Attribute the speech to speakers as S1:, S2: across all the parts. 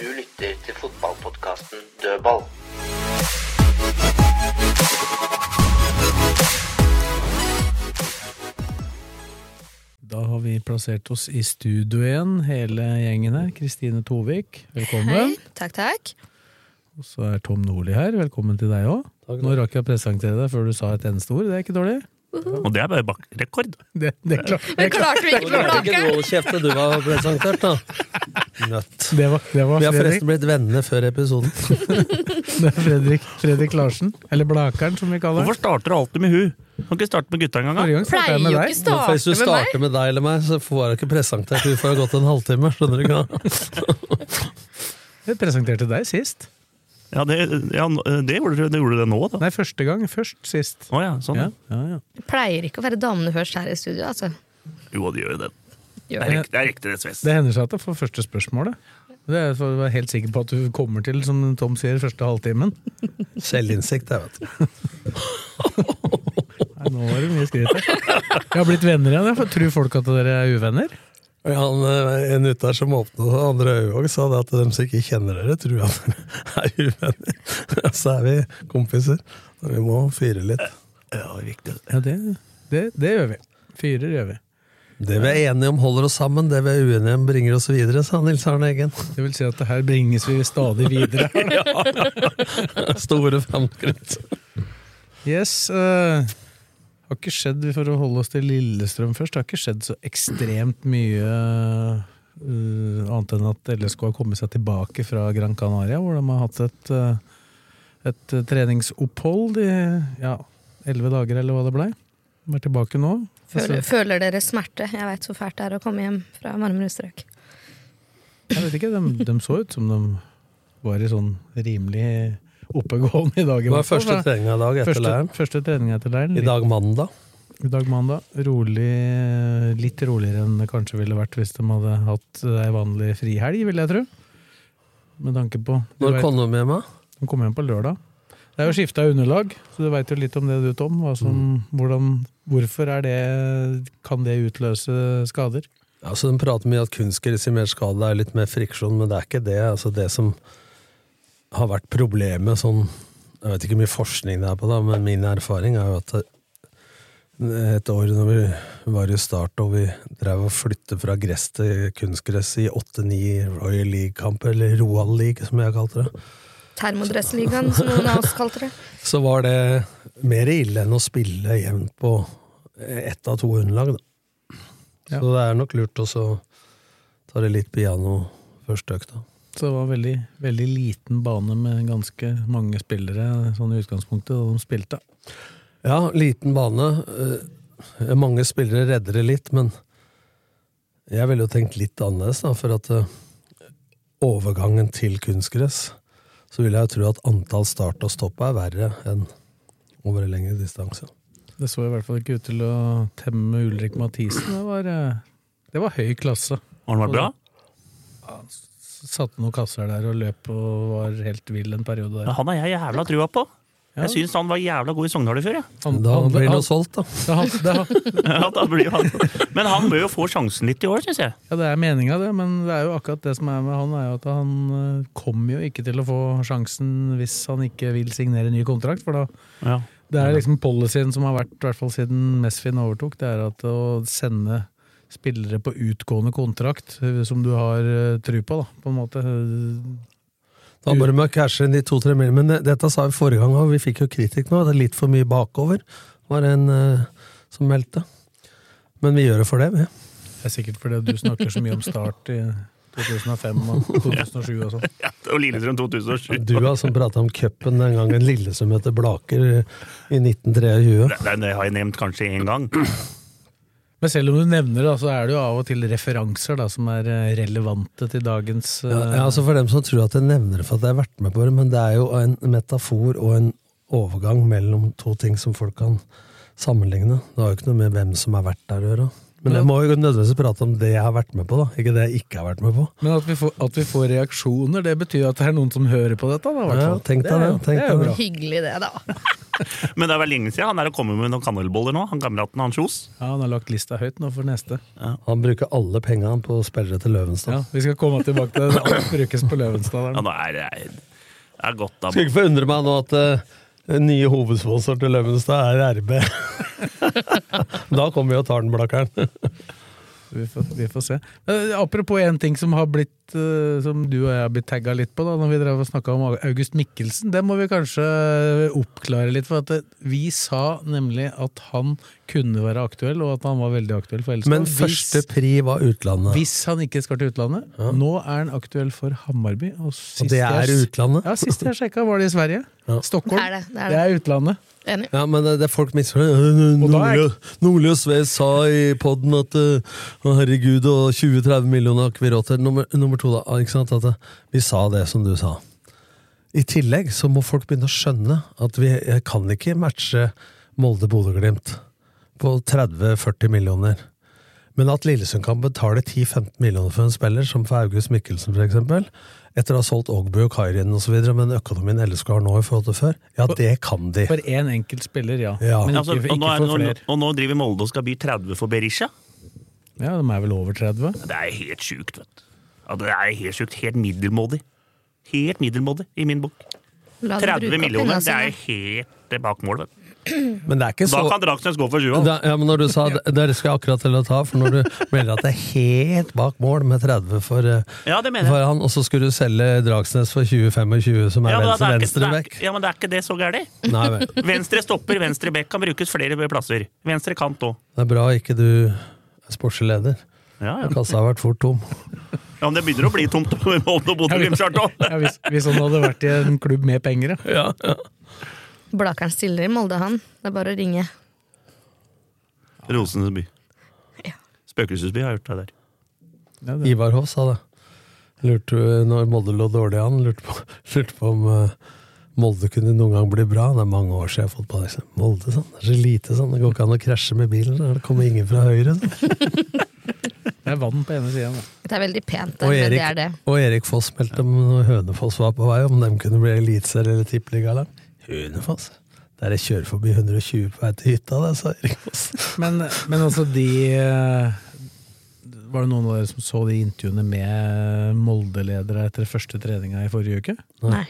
S1: Du lytter til fotballpodkasten Dødball.
S2: Da har vi plassert oss i studio igjen, hele gjengen her. Kristine Tovik, velkommen.
S3: Takk, takk.
S2: Og så er Tom Nordli her, velkommen til deg òg. Nå rakk jeg å presentere deg før du sa et eneste ord, det er ikke dårlig.
S4: Og det er bare bak rekord.
S2: Det, det, er klart.
S3: Men klarte vi ikke å
S5: Ikke
S3: blake?
S5: noe kjeft når du var presentert, da. Nøtt.
S2: det var, det var
S5: Vi har
S2: Fredrik,
S5: forresten blitt venner før episoden.
S2: det er Fredrik, Fredrik Larsen, eller Blakeren som vi kaller
S4: Hvorfor
S2: ham.
S4: starter du alltid med hu? Kan ikke starte med gutta engang. da?
S2: Forrige gang
S3: Pleier
S2: startet jeg med
S3: jo
S2: deg.
S3: ikke
S5: Hvis
S3: starte
S5: du
S3: med meg.
S5: starter med deg eller meg, så får jeg ikke presentert. Vi får ha gått en halvtime. skjønner du ikke?
S2: Jeg presenterte deg sist.
S4: Ja, det, ja, det gjorde du det, gjorde det nå, da.
S2: Nei, første gang. Først sist.
S4: Å ja, sånn.
S2: Ja, ja, ja.
S3: Pleier ikke å være damene først her i studio, altså.
S4: Jo, det gjør jo det. Det
S3: Gjør
S4: er riktig, det er riktig, det, Sves.
S2: Det hender seg at jeg får første spørsmålet. Det er for å være helt sikker på at du kommer til, som Tom sier, første halvtimen.
S5: Selvinnsikt, jeg vet.
S2: Nei, nå var det mye skryt her. Jeg har blitt venner igjen. jeg. For- Tror folk at dere er uvenner?
S5: Og Han, eh, en ute her som åpna det andre øyet òg, sa det at dem som ikke kjenner dere, tror at dere er uvenner. Så er vi kompiser. Og vi må fyre litt.
S4: Ja, riktig.
S2: Ja, det, det, det gjør vi. Fyrer gjør vi.
S5: Det vi er enige om, holder oss sammen. Det vi er uenige om, bringer oss videre, sa Nils Arne Eggen.
S2: Det vil si at det her bringes vi stadig videre.
S5: Store framskritt.
S2: Yes, eh, har ikke skjedd, for å holde oss til Lillestrøm først, det har ikke skjedd så ekstremt mye eh, annet enn at LSK har kommet seg tilbake fra Gran Canaria, hvor de har hatt et, eh, et treningsopphold i ja, 11 dager, eller hva det blei. De er tilbake nå.
S3: Føler, føler dere smerte? Jeg veit så fælt det er å komme hjem fra varmere strøk.
S2: Jeg vet ikke, de, de så ut som de var i sånn rimelig oppegående i dag. i
S5: Det var
S2: hvert fall,
S5: første
S2: da.
S5: treninga i dag etter
S2: første,
S5: leiren.
S2: første trening etter leiren.
S5: I dag mandag.
S2: I dag mandag. Rolig, litt roligere enn det kanskje ville vært hvis de hadde hatt ei vanlig frihelg, vil jeg tro. Med tanke på du
S5: Når
S2: vet,
S5: kom du med meg?
S2: De kom hjem på lørdag. Det er jo skifta underlag, så du veit jo litt om det du, Tom. Hva som,
S5: Mm.
S2: hvordan, hvorfor er det, kan det utløse skader?
S5: Altså, de prater mye at kunstgress i mer skade er litt mer friksjon, men det er ikke det. Altså, det som har vært problemet sånn Jeg vet ikke hvor mye forskning det er på det, men min erfaring er jo at et år når vi var i start og vi drev og flyttet fra gress til kunstgress i 8-9 Royal League-kamper, eller Roal League, som jeg kalte det,
S3: Termodressligaen, som noen av oss kalte det.
S5: så var det mer ille enn å spille jevnt på ett av to underlag. Da.
S2: Ja.
S5: Så det er nok lurt også å ta det litt piano første økta.
S2: Så det var veldig, veldig liten bane med ganske mange spillere sånn i utgangspunktet da de spilte.
S5: Ja, liten bane. Eh, Mange spillere redder det litt, men jeg ville jo tenkt litt annerledes, da, for at eh, overgangen til kunstgress så vil jeg jo tro at antall start og stopp er verre enn over en lengre distanse.
S2: Det så i hvert fall ikke ut til å temme Ulrik Mathisen. Det var, eh, det var høy klasse.
S4: Har den vært bra?
S2: Satte noen kasser der og løp og var helt vill en periode der.
S4: Ja, han har jeg jævla trua på. Jeg syns han var jævla god i Sogndal i fjor, jeg.
S2: Han-
S5: Da
S2: han-
S5: blir det
S2: han-
S5: altså. jo solgt, da.
S2: det han- det han-
S4: Ja, da blir han. Men han bør jo få sjansen litt i år, syns jeg.
S2: Ja, det er meninga, det, men det er jo akkurat det som er med han, er jo at han eh, kommer jo ikke til å få sjansen hvis han ikke vil signere ny kontrakt, for da
S4: Ja.
S2: Det er liksom policyen som har vært, i hvert fall siden Mesfin overtok, det er at å sende spillere på utgående kontrakt, eh, som du har eh, tru på, da, på en måte. Eh,
S5: Da må de cashe inn de to-tre mil. Men det- dette sa vi forrige gang òg, vi fikk jo kritikk nå. Det er litt for mye bakover, var det en eh, som meldte. Men vi gjør det for det, vi.
S2: Det er sikkert fordi du snakker så mye om start i 2005 og 2007 og sånn.
S4: Ja, og Lillestrøm 2007.
S5: Du har som prata om cupen den gangen Lille som heter Blaker i 1923.
S4: Det, det har jeg nevnt kanskje én gang.
S2: Men selv om du nevner det, da, så er det jo av og til referanser da, som er eh, relevante til dagens eh,
S5: Ja, ja, altså For dem som tror at jeg nevner det for at jeg har vært med på det, men det er jo en metafor og en overgang mellom to ting som folk kan sammenligne. Det har jo ikke noe med hvem som har vært der å gjøre. Men jeg må jo nødvendigvis prate om det jeg har vært med på, da. Ikke det jeg ikke har vært med på.
S2: Men at vi, får, at vi får reaksjoner, det betyr at det er noen som hører på dette. Da, i hvert
S5: Ja,
S2: fall.
S5: tenk deg
S2: er
S5: det,
S2: jo-
S5: tenk
S2: det er jo
S5: deg
S2: bra.
S3: Hyggelig det, da.
S4: Men det er vel lenge siden han er å komme med noen kanelboller nå, han kameraten han Kjos.
S2: Ja, han har lagt lista høyt nå for neste.
S5: Han bruker alle pengene på spillere til Løvenstad.
S2: Ja, vi skal komme tilbake til det. Alt brukes på Løvenstad.
S4: Ja,
S2: Der.
S4: nå er det er, det er godt, da.
S5: Skulle ikke forundre meg nå at eh, den nye hovedsponsor til Løvenstad er RB. da kommer vi og tar den, Blakkeren.
S2: Vi får, vi får se. Men, eh, apropos en ting som, har blitt, eh, som du og jeg har blitt tagga litt på, da når vi drev og snakka om August Mikkelsen. Det må vi kanskje eh, oppklare litt. For at det, vi sa nemlig at han kunne være aktuell, og at han var veldig aktuell for Elskov.
S5: Men første pri var utlandet.
S2: Hvis han ikke skal til utlandet. Nå er han aktuell for Hammarby. Og, sist
S5: Og det
S2: jeg-
S5: er utlandet?
S2: Ja, Sist jeg sjekka, var det i Sverige. Stockholm.
S3: Det er det, det er det.
S2: utlandet.
S3: Enig.
S5: Ja, men det, det er folk misfornøyd.
S2: Og da er-
S5: Nordli- Nordli og Sve sa i podden at eh, å herregud, og 20-30 millioner har ikke vi råd til. Nummer, nummer to, da. Ikke sant? At eh, vi sa det som du sa. I tillegg så må folk begynne å skjønne at vi eh, kan ikke matche Molde-Bodø-Glimt på 30-40 millioner. Men at Lillesund kan betale 10-15 millioner for en spiller, som for August Mikkelsen f.eks., etter å ha solgt Ogbu og Kairin osv., men økonomien LSK har nå i forhold til før, ja, det kan de.
S2: For én enkelt spiller, ja.
S5: Ja.
S2: Men ikke,
S4: Altså, og,
S2: ikke
S4: nå er,
S2: for
S4: og,
S2: flere.
S4: og nå driver Molde og skal by 30 for Berisha.
S2: Ja, De er vel over 30?
S4: Det er helt sjukt, vet du. Ja, det er helt sjukt. Helt middelmådig. Helt middelmådig i min bok.
S3: La dem
S4: 30
S3: bruke opp
S4: millioner,
S3: pengene
S4: det
S3: sine.
S4: er helt bak mål, vet du.
S5: Men det er ikke
S4: Da
S5: så
S4: kan Dragsnes gå for 20. altså.
S5: da, ja, men når du sa det, det skal jeg akkurat til å ta, for når du melder at det er helt bak mål med 30 for, eh,
S4: Ja, det mener
S5: for
S4: jeg.
S5: han, og så skulle du selge Dragsnes for 20-25, som er
S4: Ja, men, det er
S5: venstre,
S4: ikke, det
S5: venstre
S4: er,
S5: vekk.
S4: ikke- ja, men det er ikke det så gærent.
S5: Nei vel.
S4: Venstre stopper, venstre bekk kan brukes flere plasser. Venstre kant òg.
S5: Det er bra ikke du er sportslig leder.
S4: Ja, ja.
S5: Kassa har vært fort tom.
S4: ja, men det begynner å bli tomt over Molde og Bodø-Glimt-skjørt òg.
S2: Ja, hvis, hvis han hadde vært i en klubb med penger, ja.
S3: Blakeren stiller i Molde, han. Det er bare å ringe.
S4: Rosenes by.
S3: Ja.
S4: Spøkelsesby har gjort det der.
S2: ja det,
S5: Ivar Hoff sa det. Lurte eh, Når Molde lå dårlig an, lurte på, lurte på om eh, Molde kunne noen gang bli bra. Det er mange år siden jeg har fått på det. Molde, sånn. Det er så lite sånn. Det går ikke an å krasje med bilen. Det kommer ingen fra høyre. Sånn.
S2: det er vann på ene siden. da.
S3: Det er veldig pent,
S5: Og
S3: det, men
S5: Erik,
S3: det er det.
S5: og Erik Foss meldte om når Hønefoss var på vei, om de kunne bli eliteserie eller tippeligalag. Hønefoss? Der jeg kjører forbi 120 på vei til hytta, det, sa Erik Foss.
S2: Men, men altså, de eh, Var det noen av dere som så de intervjuene med Molde-ledere etter første treninga i forrige uke?
S3: Nei.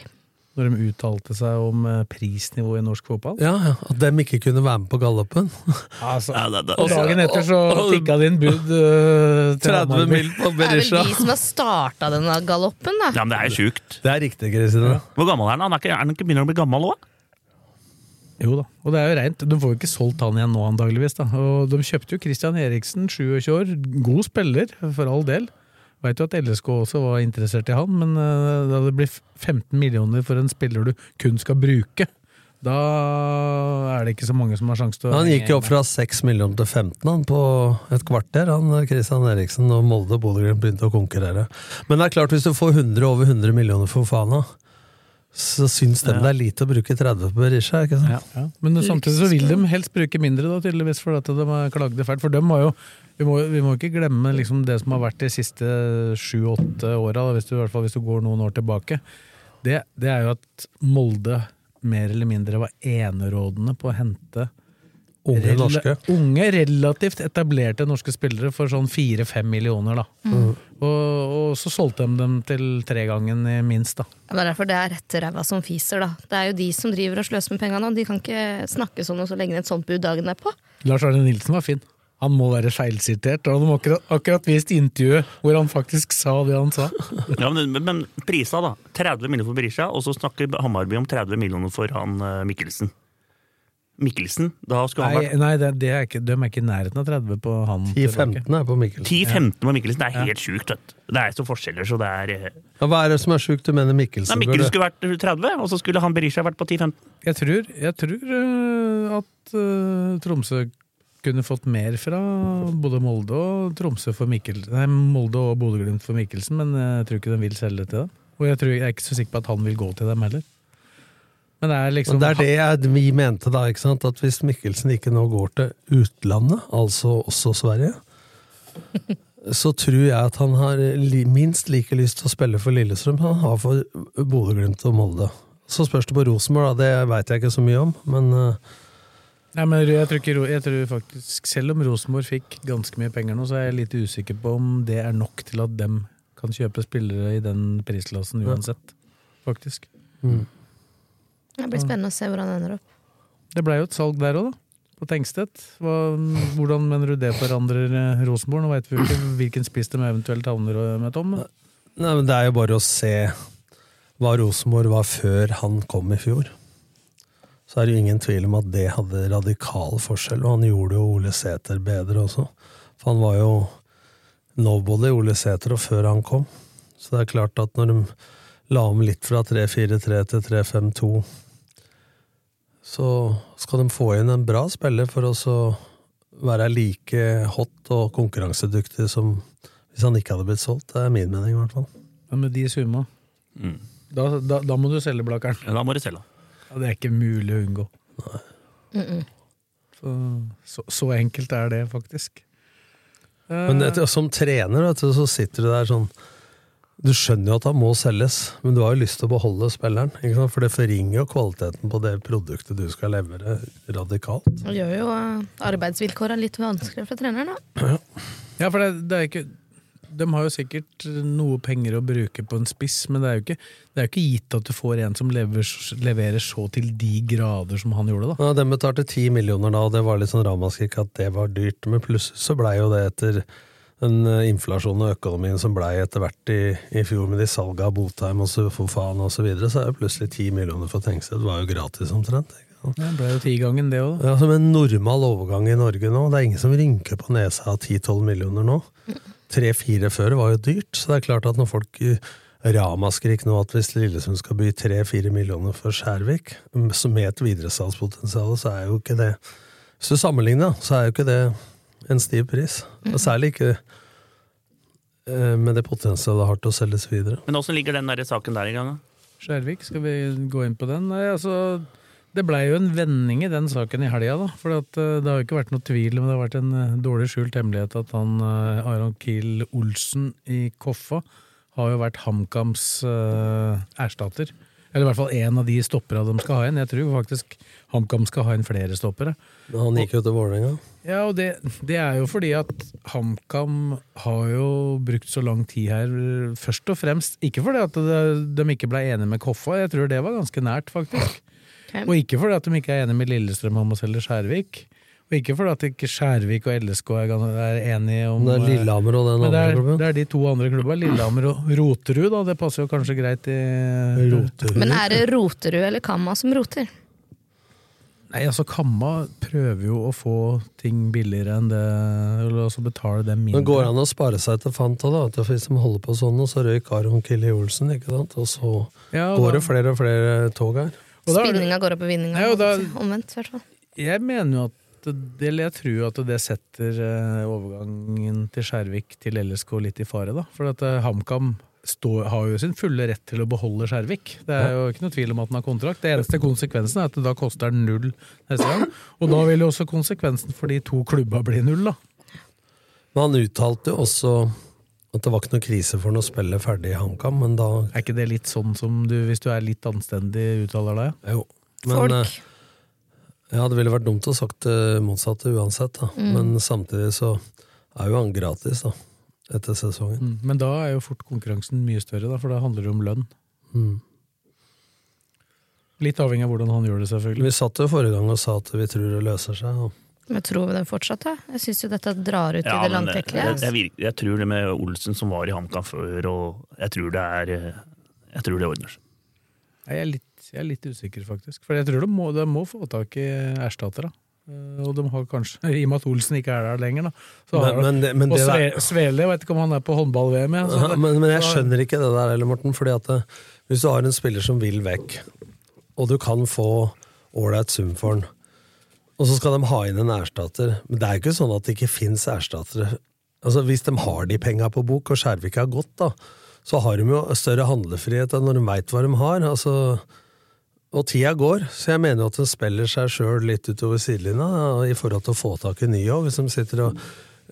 S2: Når de uttalte seg om eh, prisnivået i norsk fotball?
S5: Ja, ja, At dem ikke kunne være med på gallopen.
S2: Altså,
S4: Ja, det- det-
S2: og dagen etter så
S5: Og- og-
S2: tikka det inn bud eh, til
S5: 30
S2: Hammarby.
S5: mil på
S3: Det er
S5: Berisha.
S3: vel de som har starta denne galoppen, da.
S4: Ja, men det er jo sjukt.
S5: Det er riktig, Kristine.
S4: Hvor gammel er han? Han er ikke, er han ikke begynner å bli gammel òg?
S2: Jo da, og det er jo rent. De får jo ikke solgt han igjen nå, antageligvis. Da. Og de kjøpte jo Christian Eriksen, 27 år. God spiller, for all del. Veit jo at LSK også var interessert i han, men eh, da det blir 15 millioner for en spiller du kun skal bruke, da er det ikke så mange som har sjanse til
S5: Han gikk jo opp
S2: henge
S5: fra 6 millioner til 15 han, på et kvarter, han Kristian Eriksen, og Molde og Bodø-Glimt begynte å konkurrere. Men det er klart, hvis du får 100 over 100 millioner for Fana, så syns de det er lite å bruke 30 på Berisha, ikke sant?
S2: med. ja. ja. Men samtidig så vil de helst bruke mindre, da, tydeligvis, for at de har klagde fælt. For dem har jo vi må, vi må ikke glemme liksom det som har vært de siste sju-åtte åra, da, hvis, du- i hvert fall hvis du går noen år tilbake. det, det er jo at Molde mer eller mindre var enerådende på å hente
S5: Unge
S2: rela-
S5: norske.
S2: unge, relativt etablerte norske spillere for sånn fire-fem millioner. da.
S5: Mm.
S2: Og, og så solgte de dem til tregangen i minst. da.
S3: Ja, men Det er derfor det er rett ræva som fiser, da. Det er jo de som driver og sløser med pengene, og de kan ikke snakke sånn og så legge ned et sånt bud dagen derpå.
S2: Lars Arne Nilsen var fin. Han må være feilsitert. og Han har akkurat, akkurat vist intervjuet hvor han faktisk sa det han sa.
S4: Ja, men, men- men prisa, da. 30 millioner for Berisha, og så snakker Hammarby om 30 millioner for han eh, Mikkelsen. Mikkelsen? Da skulle han
S2: Nei,
S4: vært
S2: nei det, det er ikke, de er ikke i nærheten av 30 på han.
S5: 10-15 er på Mikkelsen.
S4: 10-15 med Mikkelsen. Det er helt sjukt, vet du. Det er så forskjeller, så det er eh,
S5: Ja, hva er det som er sjukt? Du mener Mikkelsen?
S4: Nei, Mikkelsen
S5: burde-
S4: skulle vært 30, og så skulle han Berisha vært på 10-15.
S2: Jeg tror, jeg tror øh, at øh, eh, Tromsø kunne fått mer fra både Molde og Tromsø for Mikkelsen. Nei, Molde og Bodø-Glimt for Mikkelsen, men eh, jeg tror ikke de vil selge til dem. Og jeg, tror, jeg er ikke så sikker på at han vil gå til dem heller. Men det er liksom
S5: Men det er det jeg, vi mente da, ikke sant? at hvis Mikkelsen ikke nå går til utlandet, altså også Sverige, så tror jeg at han har li, minst like lyst til å spille for Lillestrøm som han har for Bodø-Glimt og Molde. Så spørs det på Rosenborg, da. det veit jeg ikke så mye om. Men eh,
S2: Nei, men jeg tror, ikke, Ro- jeg tror faktisk, Selv om Rosenborg fikk ganske mye penger nå, så er jeg litt usikker på om det er nok til at dem kan kjøpe spillere i den prisklassen uansett. Faktisk.
S3: Det blir spennende å se hvor han ender opp.
S2: Det ble jo et salg der òg, da. På Tengstedt. Hva, hvordan mener du det forandrer eh, Rosenborg? Nå veit vi jo ikke hvilken spiss de eventuelt havner eh, med, Tom. men-
S5: Nei, men Det er jo bare å se hva Rosenborg var før han kom i fjor. Så er det jo ingen tvil om at det hadde radikal forskjell, og han gjorde jo Ole Sæter bedre også. For han var jo nobody Ole Sæter og før han kom. Så det er klart at når de la om litt fra 3-4-3 til 3-5-2, så skal de få inn en bra spiller for å så være like hot og konkurransedyktig som hvis han ikke hadde blitt solgt. Det er min mening, i hvert fall.
S2: Men med de summa,
S4: Mm.
S2: da, da, da må du selge Blakkeren.
S4: Ja, Da må du selge.
S2: Ja, det er ikke mulig å unngå. Så, så, så enkelt er det, faktisk.
S5: Men etter, som trener vet du, så sitter du der sånn Du skjønner jo at han må selges, men du har jo lyst til å beholde spilleren. Ikke sant? For det forringer jo kvaliteten på det produktet du skal levere, radikalt.
S3: Det gjør jo eh, arbeidsvilkåra litt vanskeligere for treneren, da.
S2: Ja, for det, det er ikke De har jo sikkert noe penger å bruke på en spiss, men det er jo ikke, det er jo ikke gitt at du får en som lever, leverer så til de grader som han gjorde, da.
S5: Ja, den betalte ti millioner da, og det var litt sånn ramaskrik at det var dyrt. Men plutselig så blei jo det etter den eh, inflasjonen og økonomien som blei etter hvert i, i fjor, med de salga av Botheim og så for faen og så videre, så er jo plutselig ti millioner for Tengsted. Det var jo gratis omtrent. Ikke sant?
S2: Det ble jo tigangen, det òg, da.
S5: Ja, Som en normal overgang i Norge nå. Det er ingen som rynker på nesa av 10-12 millioner nå. 3-4 før var jo dyrt, så det er klart at når folk eh, ramaskrik nå at hvis Lillesund skal by 3-4 millioner for Skjærvik, mm, så med et videresalgspotensial, så er jo ikke det Hvis du sammenligner, da, så er jo ikke det en stiv pris. Og
S2: Mm.
S5: særlig ikke eh, med det potensialet det har til å selges videre.
S4: Men åssen ligger den der saken der i gang? da?
S2: Skjervik, skal vi gå inn på den? Nei, altså det blei jo en vending i den saken i helga, da. For at, eh, det har jo ikke vært noe tvil, men det har vært en eh, dårlig skjult hemmelighet at han eh, Aron Kiel Olsen i Koffa har jo vært HamKams eh, erstatter. Eller i hvert fall én av de stoppera de skal ha inn. Jeg tror faktisk HamKam skal ha inn flere stoppere.
S5: Men han gikk jo til Vålerenga.
S2: Ja, og det, det er jo fordi at HamKam har jo brukt så lang tid her, først og fremst. Ikke fordi at det- de ikke ble enige med Koffa, jeg tror det var ganske nært, faktisk.
S3: Ok.
S2: Og ikke fordi at de ikke er enige med Lillestrøm om å selge Skjærvik. Og ikke fordi at ikke Skjærvik og LSK er gan- er enige om eh,
S5: Men det er Lillehammer og den
S2: Men det
S5: andre
S2: er,
S5: klubben.
S2: det er de to andre klubba, Lillehammer og Roterud, da. Det passer jo kanskje greit i
S5: Roterud.
S3: Men er det Roterud eller Kamma som roter?
S2: Nei, altså Kamma prøver jo å få ting billigere enn det, eller altså betale det mindre.
S5: Men går det an å spare seg til fant òg, da? vet du, For hvis de holder på sånn, og så røyk Aron Kille Olsen, ikke sant? Og så
S2: Ja, og
S5: går
S2: da-
S5: det flere og flere tog her.
S2: Og da er det-
S3: Spinninga går opp i vinninga.
S2: Ja, og da-
S3: holdt jeg på å si. Omvendt, i hvert fall.
S2: Jeg mener jo at det, eller jeg tror jo at det setter eh, overgangen til Skjervik til LSK litt i fare, da. For at eh, HamKam står- har jo sin fulle rett til å beholde Skjervik. Det er jo ikke noe tvil om at han har kontrakt. Det eneste konsekvensen er at det da koster han null neste gang. Og da vil jo også konsekvensen for de to klubba bli null, da.
S5: Men han uttalte jo også at det var ikke noe krise for han å spille ferdig i HamKam, men da
S2: Er ikke det litt sånn som du, hvis du er litt anstendig, uttaler deg?
S5: Jo. Men, eh,
S3: Folk.
S5: Ja, det ville vært dumt å sagt det motsatte uansett, da.
S2: Mm.
S5: Men samtidig så er jo han gratis, da. Etter sesongen.
S2: Mm, Men da er jo fort konkurransen mye større, da, for da handler det om lønn.
S5: Mm.
S2: Litt avhengig av hvordan han gjør det, selvfølgelig.
S5: Vi satt jo forrige gang og sa at vi tror det løser seg. Og
S3: Men tror vi det fortsatt, da? Jeg syns jo dette drar ut i det
S4: men det-
S3: langtekkelige.
S4: det- jeg, virker- jeg tror det med Olsen som var i HamKam før, og jeg tror det er eh, Jeg tror det ordner seg.
S2: Nei, Jeg er litt, jeg er litt usikker, faktisk. For jeg tror de må, de må få tak i erstattere. Eh, Og de har kanskje, i og med at Olsen ikke er der lenger, da. Så har
S5: Men- men
S2: de,
S5: det- men
S2: og
S5: det
S2: Sve,
S5: der-
S2: Svele, jeg vet ikke om han er på håndball-VM. jeg, så
S5: Ja,
S2: det-
S5: men, men jeg
S2: så-
S5: skjønner ikke det der heller, Morten. fordi at eh, Hvis du har en spiller som vil vekk, og du kan få ålreit sum for den, Og så skal de ha inn en erstatter. Men det er jo ikke sånn at det ikke fins erstattere. Altså, hvis de har de penga på bok, og Skjervik har gått, da, så har de jo større handlefrihet enn når de veit hva de har. Altså, og tida går, så jeg mener jo at de spiller seg sjøl litt utover sidelinja da, i forhold til å få tak i nye òg, hvis de sitter og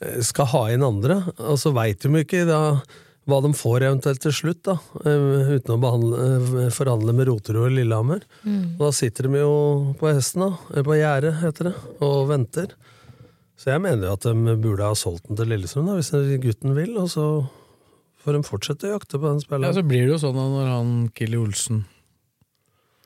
S5: eh, skal ha inn andre. Og så veit de jo ikke da hva de får eventuelt til slutt, da, eh, uten å behandle, eh, forhandle med Roterud og Lillehammer.
S3: Mm.
S5: Og da sitter de jo på hesten, da, eh, på gjerdet, heter det, og venter. Så jeg mener jo at de burde ha solgt den til Lillesund, da, hvis gutten vil, og så får de fortsette å jakte på
S2: Ja,
S5: den spilleren.
S2: så blir det jo sånn at når han Killy Olsen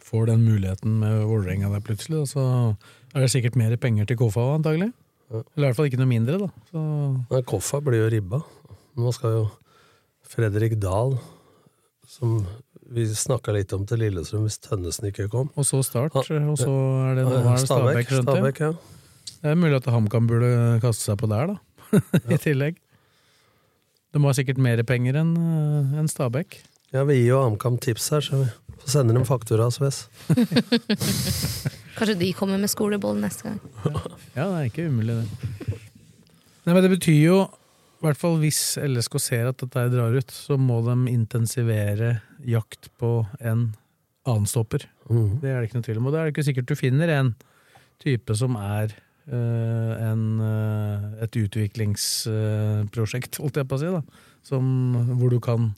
S2: får den muligheten med Vålerenga der plutselig, da, så er det sikkert mer penger til KFA antagelig. Eller i hvert fall ikke noe mindre, da. Så
S5: Nei, Koffa blir jo ribba. Nå skal jo Fredrik Dahl, som vi snakka litt om til Lillestrøm hvis Tønnesen ikke kom
S2: Og så Start, og så er det, nå er det
S5: Stabæk,
S2: Stabæk, skjønte jeg.
S5: Stabæk, ja.
S2: Det er mulig at HamKam burde kaste seg på der, da. I tillegg. De har sikkert mer penger enn eh, enn Stabæk.
S5: ja. Vi gir jo AmCam tips her, så vi får sende dem faktura, Sves.
S3: Kanskje de kommer med skoleboll neste gang.
S2: Ja, det er ikke umulig, det. Nei, men det betyr jo, i hvert fall hvis LSK ser at dette her drar ut, så må de intensivere jakt på en annen stopper.
S5: Mhm.
S2: Det er det ikke noe tvil om. Og da er det ikke sikkert du finner en type som er øh, en, øh, et utviklingsprosjekt, holdt jeg på å si, da. Som, hvor du kan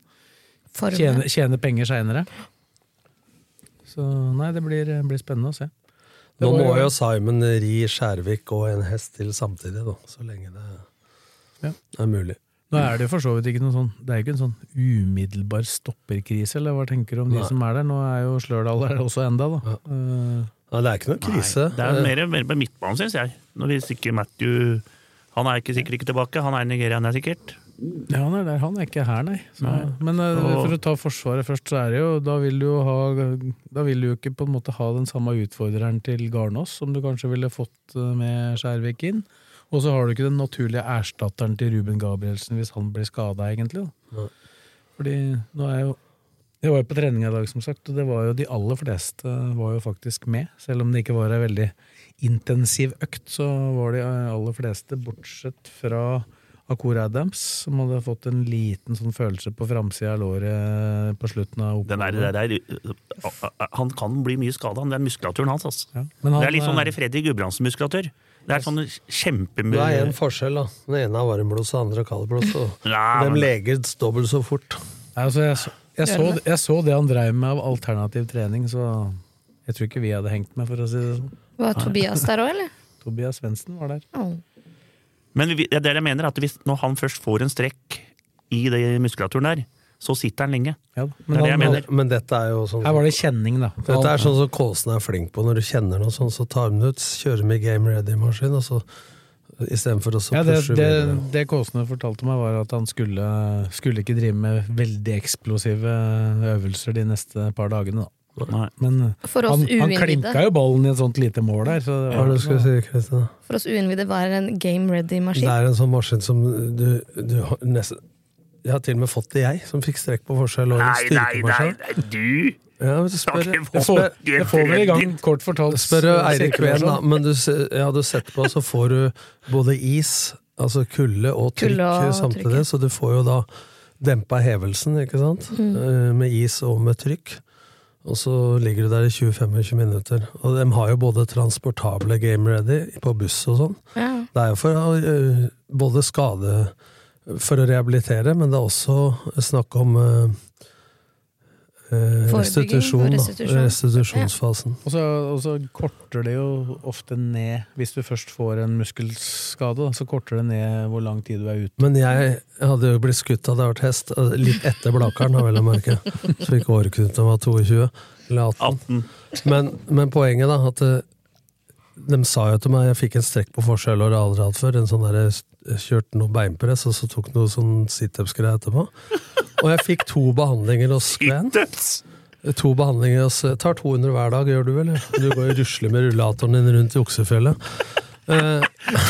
S3: Forme.
S2: tjene, tjene penger seinere. Så nei, det blir, blir spennende å se. Det
S5: Nå
S2: var
S5: må
S2: jo-
S5: jo Simon ri Skjærvik og en hest til samtidig, da, så lenge det
S2: Ja.
S5: er mulig.
S2: Nå er det jo for så vidt ikke noe sånn Det er jo ikke en sånn umiddelbar stopperkrise, eller hva tenker du om de
S5: Nei.
S2: som er der? Nå er jo Slørdal der også enda, da. Eh,
S5: Nei, det er ikke noe krise.
S4: Nei, det er mer, mer på midtbanen, syns jeg. Når vi sikrer Matthew Han er ikke sikkert ikke tilbake, han er i Nigeria, han er sikkert.
S2: ja, han er der, han er ikke her, nei. Så,
S4: Nei.
S2: Men eh,
S4: Og-
S2: for å ta Forsvaret først, så er det jo Da vil du jo ha Da vil du jo ikke på en måte ha den samme utfordreren til Garnås som du kanskje ville fått eh, med Skjærvik inn. Og så har du ikke den naturlige erstatteren til Ruben Gabrielsen hvis han blir skada, egentlig. da.
S5: Nei.
S2: Fordi nå er jo Jeg var jo på trening i dag, som sagt, og det var jo de aller fleste var jo faktisk med. Selv om det ikke var ei veldig intensiv økt, så var de aller fleste, bortsett fra Akur Adams, som hadde fått en liten sånn følelse på framsida av låret på slutten av
S4: Den der, det der, han kan bli mye skada, den muskulaturen hans. Altså.
S2: Ja, men han-
S4: det er litt sånn der Fredrik Gudbrandsen-muskulatur. Det er sånn
S5: Det er
S4: kjempemul...
S5: en forskjell, da. Den ene har varmblods, den andre har kaldblods. Og
S4: Nei,
S5: de
S4: men-
S5: leger dobbelt så fort.
S2: Nei, altså, jeg, så, jeg, så, jeg så det han dreiv med av alternativ trening, så jeg tror ikke vi hadde hengt med, for å si det sånn.
S3: Var Tobias der òg, eller?
S2: Tobias Svendsen var der.
S3: Å.
S4: Men vi, det er det jeg mener, at hvis, når han først får en strekk i det muskulaturen der, så sitter han lenge.
S2: Ja, da.
S4: Det er det jeg
S2: han,
S4: mener.
S5: Men dette er jo sånn
S2: Her var det kjenning, da.
S5: Dette er sånn som Kåsen er flink på. Når du kjenner noe sånn, så tar de det ut, kjører med Game Ready-maskin, og så istedenfor å så
S2: ja, det,
S5: pushe
S2: det,
S5: videre.
S2: det Kåsene fortalte meg, var at han skulle, skulle ikke drive med veldig eksplosive eh, øvelser de neste par dagene. Da.
S4: Nei.
S2: Men eh,
S3: For oss
S2: han, han
S3: uinnvidde.
S2: klinka jo ballen i et sånt lite mål der. Så det
S5: Hva er
S2: var
S5: det du skulle si, Kristin?
S3: For oss uinnvidde, hva er en game
S5: Det
S3: ready-maskin?
S5: er en sånn maskin som du, du har nesten Jeg har til og med fått det, jeg, som fikk strekk på forskjell. Og en
S4: Nei, nei, nei,
S5: styrkemaskin.
S4: nei, du
S5: Ja, men spør,
S4: Snakker
S2: det får,
S4: folk-
S2: det får vel i gang, kort fortalt. sånn.
S5: spør eh, Eirik Ven, da.
S2: sirkulasjon.
S5: Men du, se- ja, du setter på, så får du både is, altså kulde og trykk
S3: Kulde og
S5: samtidig.
S3: trykket.
S5: Så du får jo da dempa hevelsen, ikke sant?
S3: Mm.
S5: Eh, Med is og med trykk. Og så ligger du der i 20-25 minutter. Og de har jo både transportable Game Ready på buss og sånn.
S3: Ja.
S5: Det er jo for å, eh, både skade for å rehabilitere, men det er også snakk om eh, eh,
S3: Forebygging og
S5: restitusjon. da.
S3: restitusjon.
S5: Restitusjonsfasen.
S2: Og så, og så korter det jo ofte ned, hvis du først får en muskelskade, da, så korter det ned hvor lang tid du er ute.
S5: Men jeg hadde jo blitt skutt hadde jeg vært hest, eh, litt etter Blakeren, da, vel å merke. Så ikke åreknuten var 22, eller 18.
S4: 18.
S5: Men, men poenget, da, at eh, de sa jo til meg Jeg fikk en strekk på forskjellåret aldri hatt før. En sånn der, jeg kjørte noe beinpress, og så tok noe sånn situps-greie etterpå. Og jeg fikk to behandlinger hos Glenn. To behandlinger hos Tar 200 hver dag, gjør du vel? Du går jo og rusler med rullatoren din rundt i oksefjellet. Eh,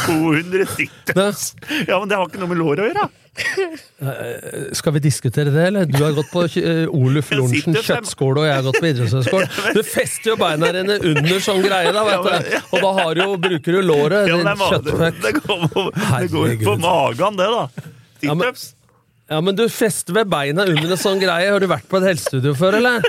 S4: 290 tøs! Ja, men det har ikke noe med lår å gjøre!
S5: Eh, Skal vi diskutere det, eller? Du har gått på eh, Oluf
S4: Jeg sitter
S5: Lorentzen
S4: frem-
S5: kjøttskåle, og jeg har gått på idrettshøyskolen. Du fester jo beina dine under sånn greie, da, vet du. Og da har du jo, bruker du låret,
S4: Ja, men det,
S5: din
S4: er ma- det,
S5: kjøttfuck.
S4: det, går på, det går på
S5: Herregud.
S4: magen, det, da.
S5: Ja, men-
S4: Situps.
S5: Ja, men du fester ved beina under en sånn greie. Har du vært på et helsestudio før, eller?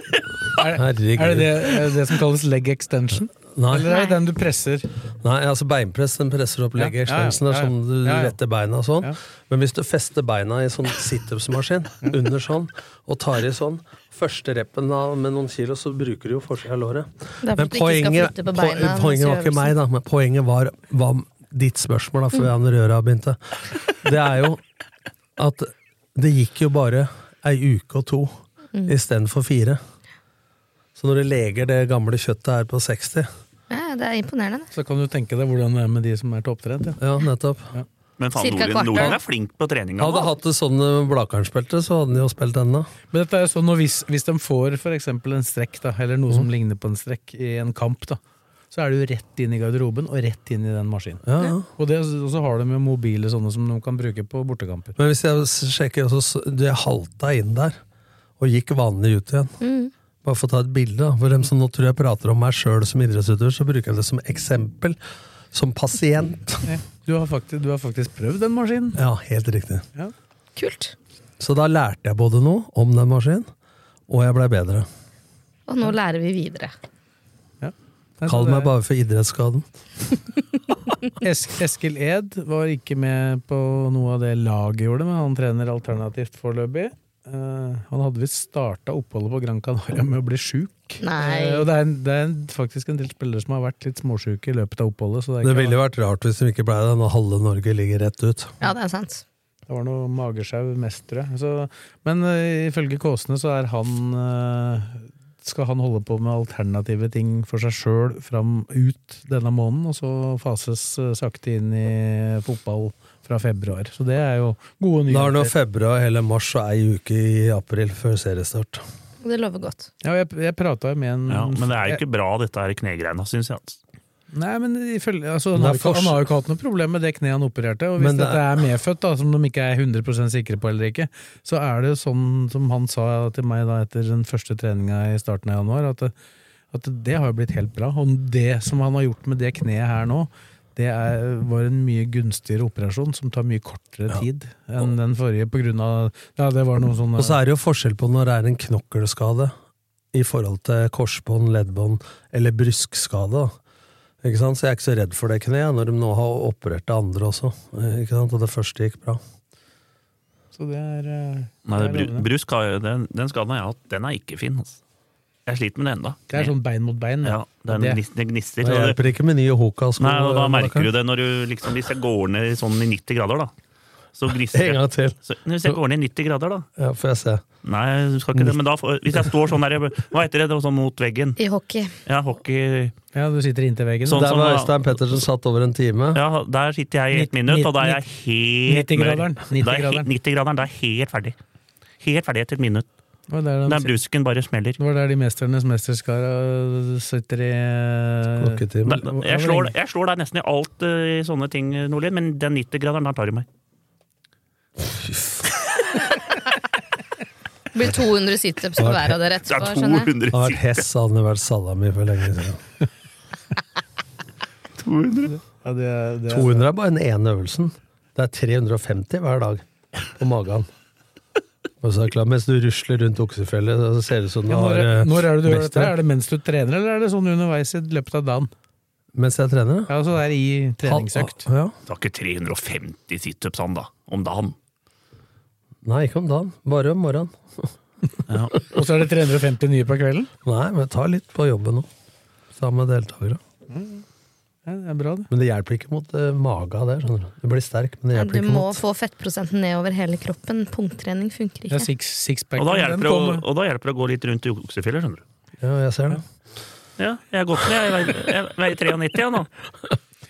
S5: Herregud.
S2: Er det det, er det det som kalles leg extension?
S5: Nei,
S2: Eller er det den du presser?
S5: nei, altså beinpress, den presser opp legget,
S2: Ja, ja, ja,
S5: slensen er
S2: ja, ja.
S5: sånn du
S2: Ja, ja.
S5: retter beina og sånn.
S2: Ja.
S5: Men hvis du fester beina i sånn situpsmaskin, under sånn, og tar i sånn, første reppen av med noen kilo, så bruker du jo forsida av låret.
S3: Det er for
S5: Men
S3: at du ikke skal
S5: poenget,
S3: flytte på
S5: po-
S3: beina mens
S5: poenget var
S3: du gjør
S5: ikke meg, da. Men poenget var, var ditt spørsmål da, før
S3: Mm.
S5: Jan Røra begynte. Det er jo at det gikk jo bare ei uke og to
S3: Mm.
S5: istedenfor fire. Så når du leger det gamle kjøttet her på 60
S3: Ja, det er imponerende. det.
S2: Så kan du tenke deg hvordan det er med de som er til opptrent. Ja.
S5: Ja, nettopp.
S4: Men faen,
S3: Cirka
S4: Nordlien,
S3: kvarter.
S4: Nordlien er flink på treninga.
S5: Hadde hatt det sånn eh, Blakernsbelte, så hadde han jo spilt ennå.
S2: Men dette er jo sånn når hvis, hvis de får for eksempel en strekk, da, eller noe
S5: Mm.
S2: som ligner på en strekk i en kamp, da, så er det jo rett inn i garderoben og rett inn i den maskinen.
S5: Ja, ja.
S2: Og, det, og så har de jo mobile sånne som de kan bruke på bortekamper.
S5: Men hvis jeg s- sjekker, så s- du, jeg halta inn der, og gikk vanlig ut igjen.
S2: Mm.
S5: Bare for å ta et bilde, da. for dem som nå tror jeg prater om meg sjøl som idrettsutøver, så bruker jeg det som eksempel. Som pasient.
S2: Du har faktisk, du har faktisk prøvd den maskinen.
S5: Ja, helt riktig.
S3: Kult.
S5: Så da lærte jeg både noe om den maskinen, og jeg blei bedre.
S3: Og nå lærer vi videre.
S2: Nei, så
S5: Kall
S2: det
S5: meg
S2: er-
S5: bare for idrettsskaden.
S2: Es Eskil Ed var ikke med på noe av det laget gjorde, men han trener alternativt foreløpig. Eh, han hadde visst starta oppholdet på Gran Canaria med å bli sjuk.
S3: Nei.
S2: Eh, og det er, en, det er en, faktisk en del spillere som har vært litt småsjuke i løpet av oppholdet. Så det, er
S5: Det
S2: ikke,
S5: ville jo vært rart hvis de ikke blei det, når halve Norge ligger rett ut.
S3: Ja, det er sant.
S2: det var noe magesjau mest, tror jeg. Så, men eh, ifølge Kåsene så er han eh, skal han holde på med alternative ting for seg sjøl fram ut denne måneden, og så fases eh, sakte inn i fotball fra februar. Så det er jo gode nyheter.
S5: Da er det nå februar hele mars og ei uke i april før seriestart.
S3: Og det lover godt.
S2: Ja, jeg, jeg prata jo med en
S4: Ja, men det er jo ikke bra, dette her knegreina, syns jeg. altså.
S2: Nei, men ifølge, altså,
S5: Men
S2: han, har,
S5: det er
S2: ikke-
S5: fors-
S2: han har jo ikke hatt noe problem med det kneet han opererte. Og hvis
S5: Men det er-
S2: dette er medfødt, da, som de ikke er 100 sikre på eller ikke, så er det sånn som han sa til meg da etter den første treninga i starten av januar, at, det- at det har jo blitt helt bra. Og det som han har gjort med det kneet her nå, det er, var en mye gunstigere operasjon som tar mye kortere tid enn den forrige på grunn av Ja, det var sånn, noen sånne
S5: Og så er det jo forskjell på når det er en knokkelskade i forhold til korsbånd, leddbånd eller bruskskade. da. Ikke sant? Så jeg er ikke så redd for det kneet, når de nå har operert det andre også. eh, Ikke sant? Og det første gikk bra.
S2: Så det er eh,
S4: Nei,
S2: det er
S4: det bru,
S2: lovende.
S4: brusk har jo den, den skaden jeg har hatt, den er ikke fin. Altså. Jeg sliter med det ennå.
S2: Det er sånn bein mot bein.
S4: Ja,
S2: da.
S4: det, er
S2: Det-
S4: gnis- det gnister.
S5: Det
S4: og det-
S5: hjelper ikke med nye Hoka-sko.
S4: Nei, og da merker du det når du liksom Hvis jeg går ned sånn i 90 grader, da. Så gnister
S5: En
S4: jeg.
S5: gang til,
S4: Så, hvis jeg går ned i 90 grader, da
S5: ja, får jeg se.
S4: Nei, du skal ikke det, men da får- hvis jeg står sånn der jeg- Hva heter det? det var sånn mot veggen.
S3: I hockey.
S4: Ja, hockey
S2: Ja, du sitter inntil veggen.
S4: Sånn
S5: Der
S4: som
S5: var
S4: da-
S5: Øystein Pettersen satt over en time.
S4: Ja, der sitter jeg i ett
S2: Nitt-
S4: minutt, og da er
S2: nitt-
S4: jeg helt
S2: 90-graderen.
S4: mørk. Da er jeg he-
S2: 90-graderen.
S4: 90-graderen. Da er jeg helt ferdig. Helt ferdig etter et minutt.
S2: Det var der de
S4: Der brusken bare smeller.
S2: Det var der de mesternes mesterskara sitter i eh,
S5: Klokketime.
S4: Da, da, jeg, slår, jeg slår deg nesten i alt eh, i sånne ting, Nordlien, men den 90-graderen, der tar du meg.
S3: Det blir 200 situps på hver av dere
S4: Det er
S3: etterpå. skjønner jeg.
S4: 200
S5: Han har vært hess, han hadde vært salami for lenge siden.
S2: Ja, det, er- det, er-
S5: 200 er bare den ene øvelsen. Det er 350 hver dag på magen. Og så er det klart, Mens du rusler rundt oksefjellet, så ser det ut som du
S2: ja, når,
S5: har
S2: er-
S5: eh,
S2: når er det du gjør dette?
S5: mester.
S2: Er det mens du trener, eller er det sånn underveis i løpet av dagen?
S5: Mens jeg trener?
S2: Ja, så det er i treningsøkt.
S5: Ja.
S4: Det var ikke 350 situps han, da. Om dagen.
S5: Nei, ikke om dagen. Bare om morgenen.
S2: Og så er det 350 nye på kvelden?
S5: Nei, men ta litt på jobben nå. Sammen med deltakere.
S2: Ja, det er bra, det.
S5: Men det hjelper ikke mot eh, maga der. skjønner Du Du blir sterk, men det
S3: Nei,
S5: hjelper
S3: Du
S5: ikke
S3: må
S5: mot
S3: få fettprosenten ned over hele kroppen. Punkttrening funker
S2: Det er
S3: ikke.
S2: six, sixpack.
S4: Og da hjelper
S2: Den
S4: det å,
S2: kommer.
S4: og da hjelper det å gå litt rundt i oksefjellet, skjønner du.
S5: Ja, jeg ser det.
S4: Ja, jeg har gått ned. Jeg veier- jeg veier 93 nå.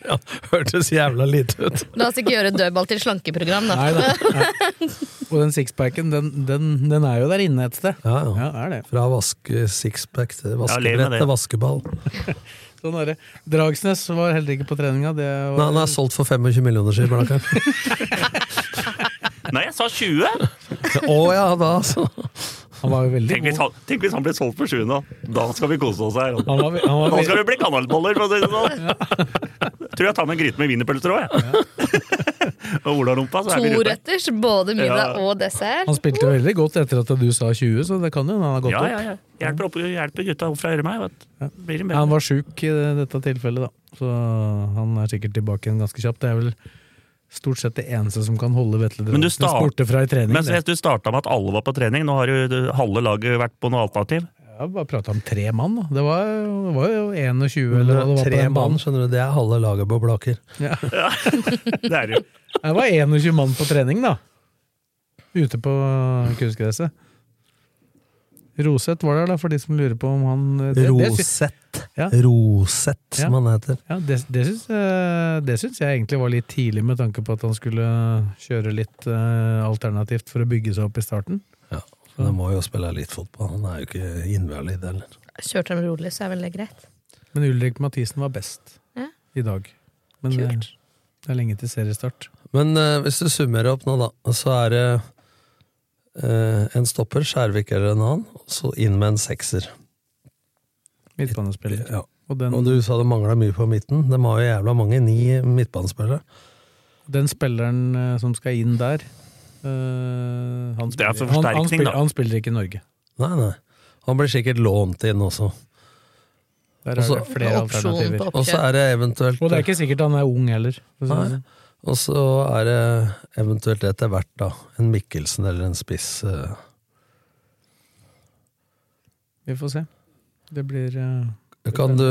S5: Ja, hørtes jævla lite ut.
S3: La oss ikke gjøre dødball til slankeprogram, da.
S2: Nei, da. Og den sixpacken, den, den, den er jo der inne et sted.
S5: Ja, ja.
S2: Ja, er det.
S5: Fra vaske sixpack til
S4: lev med
S5: vaskebrett
S4: det.
S5: til vaskeball.
S2: Sånn er det. Dragsnes var heller ikke på treninga. Det
S5: Nei, altså,
S2: var,
S5: han er solgt for 25 millioner, sier Blakkaren.
S4: Nei, jeg sa 20!
S5: Å ja, da, altså.
S2: han var jo veldig
S4: Tenk hvis
S2: god.
S4: han, tenk hvis han ble solgt for 7 nå. Da skal vi kose oss her.
S2: Han var, han var,
S4: Nå
S2: ve-
S4: skal det bli kanalboller, for å si det sånn! Tror jeg tar med en gryte med wienerpølser òg, jeg. Og olarumpa, så er vi rundt.
S3: Toretters, både middag
S4: Ja.
S3: og dessert.
S2: han spilte jo veldig godt etter at du sa 20, så det kan jo hende han har gått
S4: Ja, ja,
S2: opp.
S4: ja. Hjelper, opp, hjelper gutta opp fra øret meg. Vet. du. Blir det
S2: Ja, han
S4: bedre.
S2: var sjuk i dette tilfellet, da. Så han er sikkert tilbake igjen ganske kjapt. Det er vel stort sett det eneste som kan holde Vetle
S4: Men du
S2: Dragsnes
S4: start-
S2: borte fra i trening.
S4: Men
S2: det.
S4: så du starta med at alle var på trening. Nå har jo det- halve laget vært på noe alternativ.
S2: Ja, bare prata om tre mann, da. Det var, det var jo 21 eller hva det var på
S5: Tre
S2: den
S5: mann,
S2: banen.
S5: skjønner du. Det er halve laget på Blaker.
S2: Ja.
S4: Det er det jo.
S2: Det var 21 mann på trening, da. Ute på kunstgresset. Roseth var der, da, for de som lurer på om han det, det, sy-
S5: Rosett.
S2: Ja.
S5: Rosett, som han heter.
S2: ja, det, det, syns, eh, det syns jeg egentlig var litt tidlig, med tanke på at han skulle kjøre litt eh, alternativt for å bygge seg opp i starten.
S5: Ja. Så han må jo spille litt fotball. Han er jo ikke innvalid, eller.
S3: Kjørte dem rolig, så er vel det greit.
S2: Men Ulrik Mathisen var best
S3: Ja.
S2: i dag. Men det,
S3: Kult.
S2: det er lenge til seriestart.
S5: Men eh, hvis du summerer opp nå, da, så er det eh, en stopper, Skjærvik eller en annen, og så inn med en sekser.
S2: Midtbanespiller.
S5: Ja.
S2: Og den,
S5: Og du sa det mangla mye på midten. De har jo jævla mange, ni midtbanespillere.
S2: den spilleren eh, som skal inn der eh, han,
S4: Det er
S2: spiller,
S4: for
S2: han, han,
S4: forsterkning,
S2: spiller,
S4: da.
S2: han spiller ikke i Norge.
S5: Nei, nei. Han blir sikkert lånt inn også.
S2: Der er
S4: Altså,
S5: Også-
S2: det flere
S3: Opsjon
S2: alternativer.
S3: på
S5: Og så er det eventuelt
S2: Og det er ikke sikkert han er ung heller. for å si det
S5: Nei.
S2: sånn.
S5: Og så er det eventuelt etter hvert da, en Mikkelsen eller en spiss. eh.
S2: Vi får se. Det blir eh,
S5: Kan du,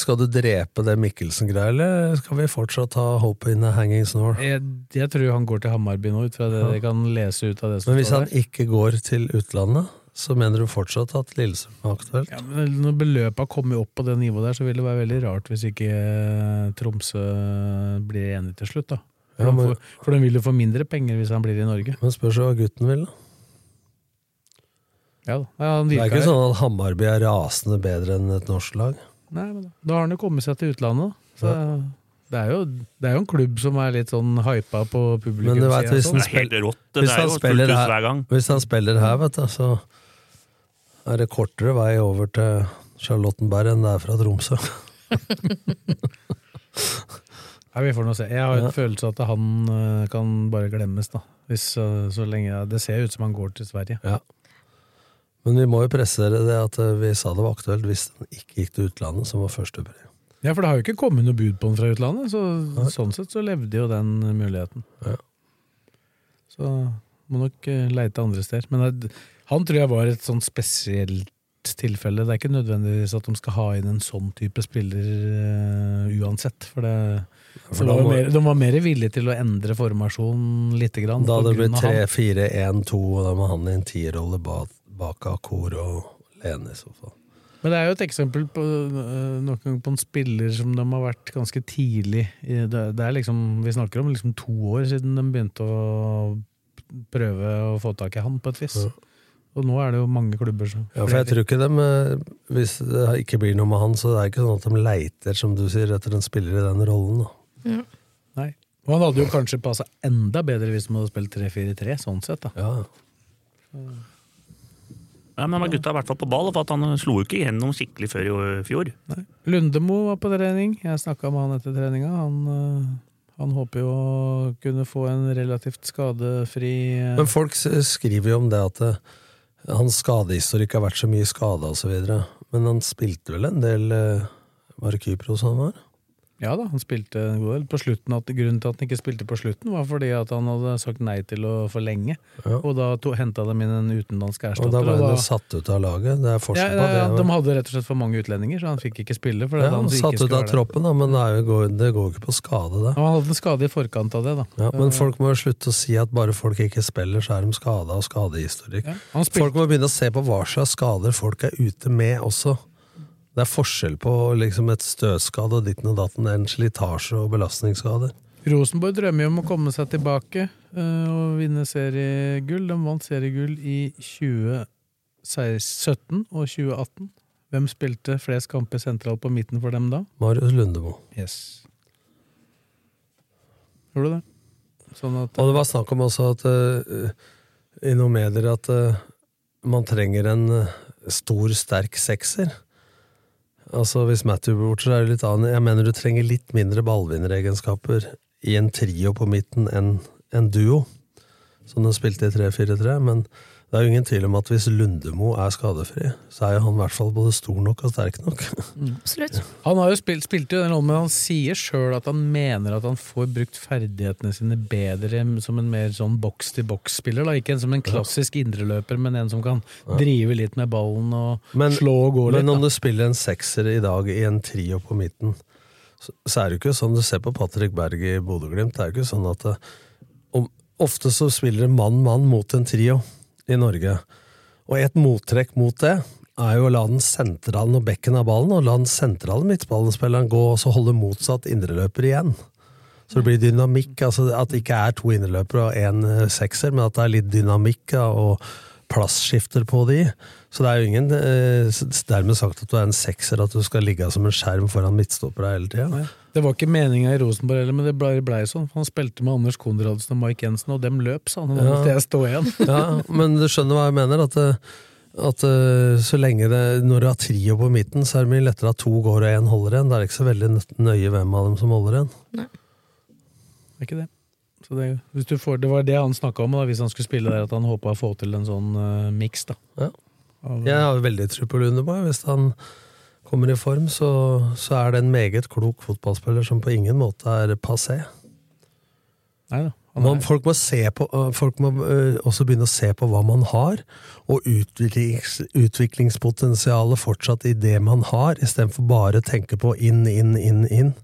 S5: skal du drepe det Mikkelsen-greia, eller skal vi fortsatt ha Hope in a hanging snore?
S2: jeg, jeg tror han går til Hammarby nå, ut fra det jeg kan lese ut av det som
S5: Men hvis
S2: står
S5: han
S2: der.
S5: ikke går til utlandet, så mener du fortsatt at Lillestrøm er aktuelt?
S2: Ja, men når beløpa kommer opp på det nivået der, så vil det være veldig rart hvis ikke eh, Tromsø blir enig til slutt, da. For,
S5: Ja,
S2: han
S5: men-
S2: får, for den vil jo få mindre penger hvis han blir i Norge.
S5: Men spørs hva gutten vil, da.
S2: Ja, da. Ja, han
S5: Det er
S2: virka
S5: ikke
S2: jo-
S5: sånn at Hammarby er rasende bedre enn et norsk lag.
S2: Nei, men da. da har han jo kommet seg til utlandet, da. Så det, er jo, det er jo en klubb som er litt sånn hypa på publikum. sånn.
S5: Men du vet, hvis
S4: Det
S5: den
S4: er helt rått. Det
S5: Hvis
S4: er
S5: han
S4: jo fullt
S5: spiller
S4: hus
S5: her-
S4: hver gang.
S5: Hvis han spiller her, vet du, så er det kortere vei over til Charlottenberg enn det er fra Tromsø.
S2: Nei, vi får nå se. Jeg har en
S5: Ja.
S2: følelse at han eh, kan bare glemmes, da. Hvis, eh, så lenge, det ser ut som han går til Sverige.
S5: Ja. Men vi må jo presisere det at eh, vi sa det var aktuelt hvis den ikke gikk til utlandet, som var første brev.
S2: Ja, for det har jo ikke kommet noe bud på den fra utlandet, så sånn sett så levde jo den muligheten.
S5: Ja.
S2: Så må nok eh, leite andre steder. Men det, han tror jeg var et sånn spesielt tilfelle. Det er ikke nødvendigvis at de skal ha inn en sånn type spiller eh, uansett, for det
S5: For
S2: så
S5: da
S2: var jo
S5: må-
S2: mer, de var mer villige til å endre formasjon lite grann. på
S5: Da hadde det
S2: grunn
S5: blitt
S2: av han.
S5: 3-4-1-2, og da må han i en tierrolle ba- bak Akor og sånn. Lene i så fall.
S2: Men det er jo et eksempel på, øh, nok en gang på en spiller som de har vært ganske tidlig i. Det, det er liksom, Vi snakker om liksom to år siden de begynte å prøve å få tak i han, på et vis.
S5: Ja.
S2: Og nå er det jo mange klubber som
S5: Ja, for jeg tror ikke dem, eh, Hvis det ikke blir noe med han, så det er ikke sånn at de leiter, som du sier, etter en spiller i den rollen. da.
S2: Nei. Og han hadde jo kanskje passa enda bedre hvis de hadde spilt 3-4-3, sånn sett. da.
S5: Ja, ja.
S4: Ja, men gutta er i hvert fall på ball, for at han slo jo ikke gjennom skikkelig før i fjor.
S2: Lundemo var på trening. Jeg snakka med han etter treninga. Han, øh, han håper jo å kunne få en relativt skadefri øh,
S5: Men folk s- skriver jo om det at eh, hans skadehistorikk har vært så mye skada osv. Men han spilte vel en del eh, Var det Kypros han var?
S2: Ja da, han spilte en god del på slutten. At, grunnen til at han ikke spilte på slutten, var fordi at han hadde sagt nei til å forlenge.
S5: Ja.
S2: Og da henta de inn en utenlandsk
S5: Og
S2: erstatter.
S5: da
S2: og
S5: ble han jo
S2: da-
S5: satt ut av laget. Det er
S2: ja,
S5: forskjell
S2: ja, ja,
S5: på
S2: de
S5: det.
S2: hadde rett og slett for mange utlendinger, så han fikk ikke spille. For
S5: Ja,
S2: han,
S5: han
S2: ikke skulle
S5: satt ut av
S2: være der.
S5: troppen, da, men det, er jo, går- det går jo ikke på skade, det.
S2: Ja, Han hadde en skade i forkant av det, da.
S5: Ja, men folk må jo slutte å si at bare folk ikke spiller, så er de skada og skadehistorikk.
S2: Ja, han spilte-
S5: Folk må begynne å se på hva slags skader folk er ute med også. Det er forskjell på liksom et støtskade og ditten og datten, en slitasje og belastningsskade.
S2: Rosenborg drømmer jo om å komme seg tilbake eh, og vinne seriegull. De vant seriegull i 2017 og 2018. Hvem spilte flest kamper sentralt på midten for dem da?
S5: Marius Lundemo.
S2: Yes. Gjorde du det? Sånn at
S5: Og det var snakk om også at eh, i noen medier at eh, man trenger en eh, stor, sterk sekser. Altså Hvis Matthew blir borte, så er det litt annet. Jeg mener du trenger litt mindre ballvinneregenskaper i en trio på midten enn en duo, som de spilte i 3-4-3. Men det er jo ingen tvil om at hvis Lundemo er skadefri, så er jo han i hvert fall både stor nok og sterk nok.
S3: Absolutt.
S2: Han har jo spilt, spilt jo den rollen, men han sier sjøl at han mener at han får brukt ferdighetene sine bedre som en mer sånn boks-til-boks-spiller. da. Ikke en som en klassisk indreløper, men en som kan drive litt med ballen og
S5: Men-
S2: slå og gå litt.
S5: Men om
S2: Da.
S5: du spiller en sekser i dag i en trio på midten, så, så er det jo ikke sånn du ser på Patrick Berg i Bodø-Glimt. Det er jo ikke sånn at eh, om, Ofte så spiller det mann-mann mot en trio i Norge. Og et mottrekk mot det er jo å la den sentrale og bekken av ballen, og la den sentrale midtballspilleren gå, og så holde motsatt indreløper igjen. Så det blir dynamikk. altså At det ikke er to indreløpere og én sekser, men at det er litt dynamikk da, og plassskifter på de. Så det er jo ingen eh, s- dermed sagt at du er en sekser, at du skal ligge som en skjerm foran midtstoppere hele tida.
S2: Det var ikke meninga i Rosenborg heller, men det blei ble sånn. Han spilte med Anders Konradsen og Mike Jensen, og dem løp, sa han. Og da
S5: Ja.
S2: måtte jeg stå igjen.
S5: Ja, men du skjønner hva jeg mener? At, eh, at eh, så lenge det, når du har trio på midten, så er det mye lettere at to går og én holder en. Det er ikke så veldig nø- nøye hvem av dem som holder en.
S2: Det er ikke det. Så det, hvis du får, det var det han snakka om da, hvis han skulle spille der, at han håpa å få til en sånn uh, miks. da.
S5: Ja.
S2: Av-
S5: Jeg har veldig tro på Lundebo. Hvis han kommer i form, så, så er det en meget klok fotballspiller som på ingen måte er passé.
S2: Nei da. han er-
S5: Man, folk må, se på, øh, folk må øh, også begynne å se på hva man har, og utviklings, utviklingspotensialet fortsatt i det man har, istedenfor bare å tenke på inn, inn, inn, inn.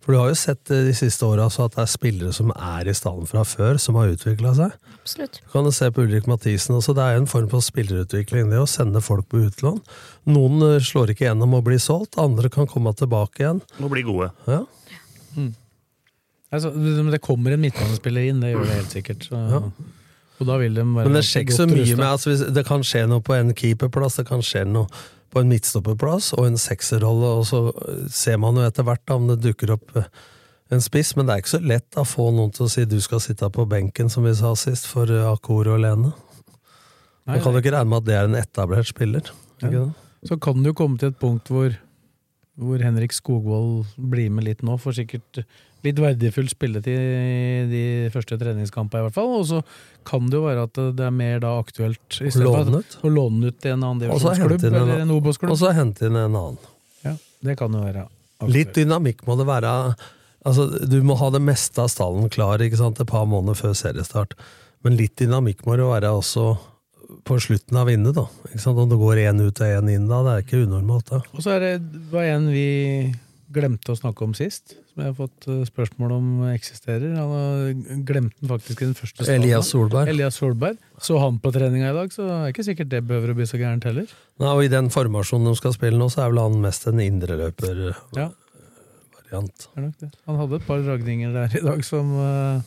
S5: For du har jo sett øh, de siste åra at det er spillere som er i stallen fra før, som har utvikla seg.
S3: Absolutt.
S5: Du kan jo se på Ulrik Mathisen også, det er jo en form for spillerutvikling, det å sende folk på utlån. Noen eh, slår ikke gjennom og blir solgt, andre kan komme tilbake igjen.
S4: Må bli gode.
S5: Ja.
S2: Altså, men det kommer en midtbanespiller inn, det gjør det helt sikkert. Så, Og da vil de være
S5: Men det skjer ikke så
S2: godt
S5: mye
S2: rustet.
S5: med altså, hvis- Det kan skje noe på en keeperplass, det kan skje noe på en midtstopperplass og en sekserrolle, og så eh, ser man jo etter hvert da, om det dukker opp eh, en spiss, men det er ikke så lett å få noen til å si du skal sitte på benken, som vi sa sist, for eh, Akor og Lene.
S2: Nei,
S5: Man kan jo ikke regne med at det er en etablert spiller.
S2: Ja.
S5: Ikke det?
S2: Så kan det jo komme til et punkt hvor, hvor Henrik Skogvold blir med litt nå, får sikkert litt verdifull spilletid i de første treningskampene i hvert fall. Og så kan det jo være at det er mer da aktuelt i stedet for at-
S5: Låne ut.
S2: å låne ut til en annen
S5: Og så
S2: divisjonsklubb
S5: hente inn en-
S2: eller en
S5: Og
S2: Obos-klubb.
S5: så hente inn en annen.
S2: Ja, det kan jo være. aktuelt.
S5: Litt dynamikk må det være. Altså, du må ha det meste av stallen klar ikke sant, et par måneder før seriestart. Men litt dynamikk må det være også på slutten av vinnet. da. Ikke sant? Om det går én ut og én inn da, det er ikke unormalt. da.
S2: Og så er det var en vi glemte å snakke om sist, som jeg har fått eh, spørsmål om eksisterer. Han har glemt den faktisk i den første stallen.
S5: Elias Solberg.
S2: Elias Solberg. Så han på treninga i dag, så er ikke sikkert det behøver å bli så gærent heller.
S5: Nei, og I den formasjonen de skal spille nå, så er vel han mest en indreløpervariant.
S2: Ja, det er nok det. Han hadde et par dragninger der i dag som, eh,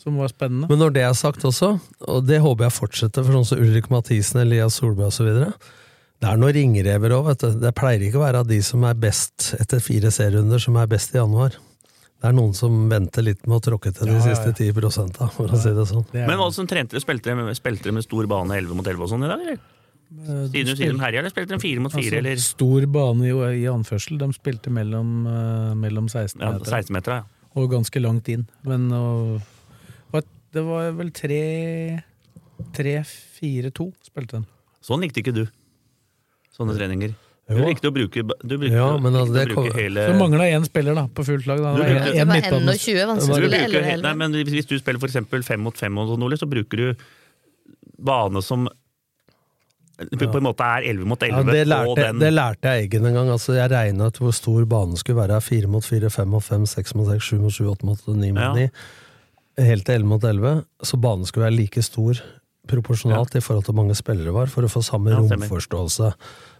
S2: som var spennende.
S5: Men når det er sagt også, og det håper jeg fortsetter for sånn som Ulrik Mathisen, Elias Solberg osv. Det er noen ringrever òg, vet du. Det pleier ikke å være de som er best etter fire serierunder, som er best i januar. Det er noen som venter litt med å tråkke til
S2: Ja,
S5: de
S2: ja, ja.
S5: siste 10 prosenta, for å si det sånn.
S2: Det er- altså
S4: Men hva som trente dere? Spilte dere med, spilte dere med stor bane 11 mot 11 og sånn i dag? eller? Siden du sier de herja, eller spilte dere 4 mot 4?
S2: Eh, altså,
S4: eller
S2: Stor bane i, i anførsel. De spilte mellom, eh, mellom 16
S4: ja,
S2: meter.
S4: 16-metera? Ja.
S2: og ganske langt inn. Men og, og det var vel tre Tre, fire, to spilte de.
S4: Sånn likte ikke du. Sånne treninger. Du
S5: Jo.
S4: likte å bruke, du brukte,
S5: Ja, men altså,
S4: likte
S5: det
S4: å bruke
S5: kom-
S4: hele
S2: Så mangla én spiller da, på fullt lag. Da. Det
S4: Du
S2: var
S4: brukte-
S2: en,
S3: Det
S2: en
S3: var
S2: midtbane.
S3: 1,20
S4: Du
S3: vanskelig å spille
S4: bruker
S3: eller
S4: he- Nei,
S3: eller.
S4: men hvis- Hvis du spiller for eksempel fem mot fem, og sånn, Ole, så bruker du bane som på på en måte er 11 mot 11
S5: Ja, det,
S4: og
S5: lærte,
S4: den
S5: det lærte jeg Eggen en gang. altså Jeg regna ut hvor stor banen skulle være. Fire mot fire, fem mot fem, seks mot seks, sju mot sju, åtte mot åtte, ni mot
S4: Ja.
S5: ni. Helt til elleve mot elleve. Så banen skulle være like stor proporsjonalt i forhold til hvor mange spillere det var, for å få samme
S4: Ja, stemmer.
S5: romforståelse.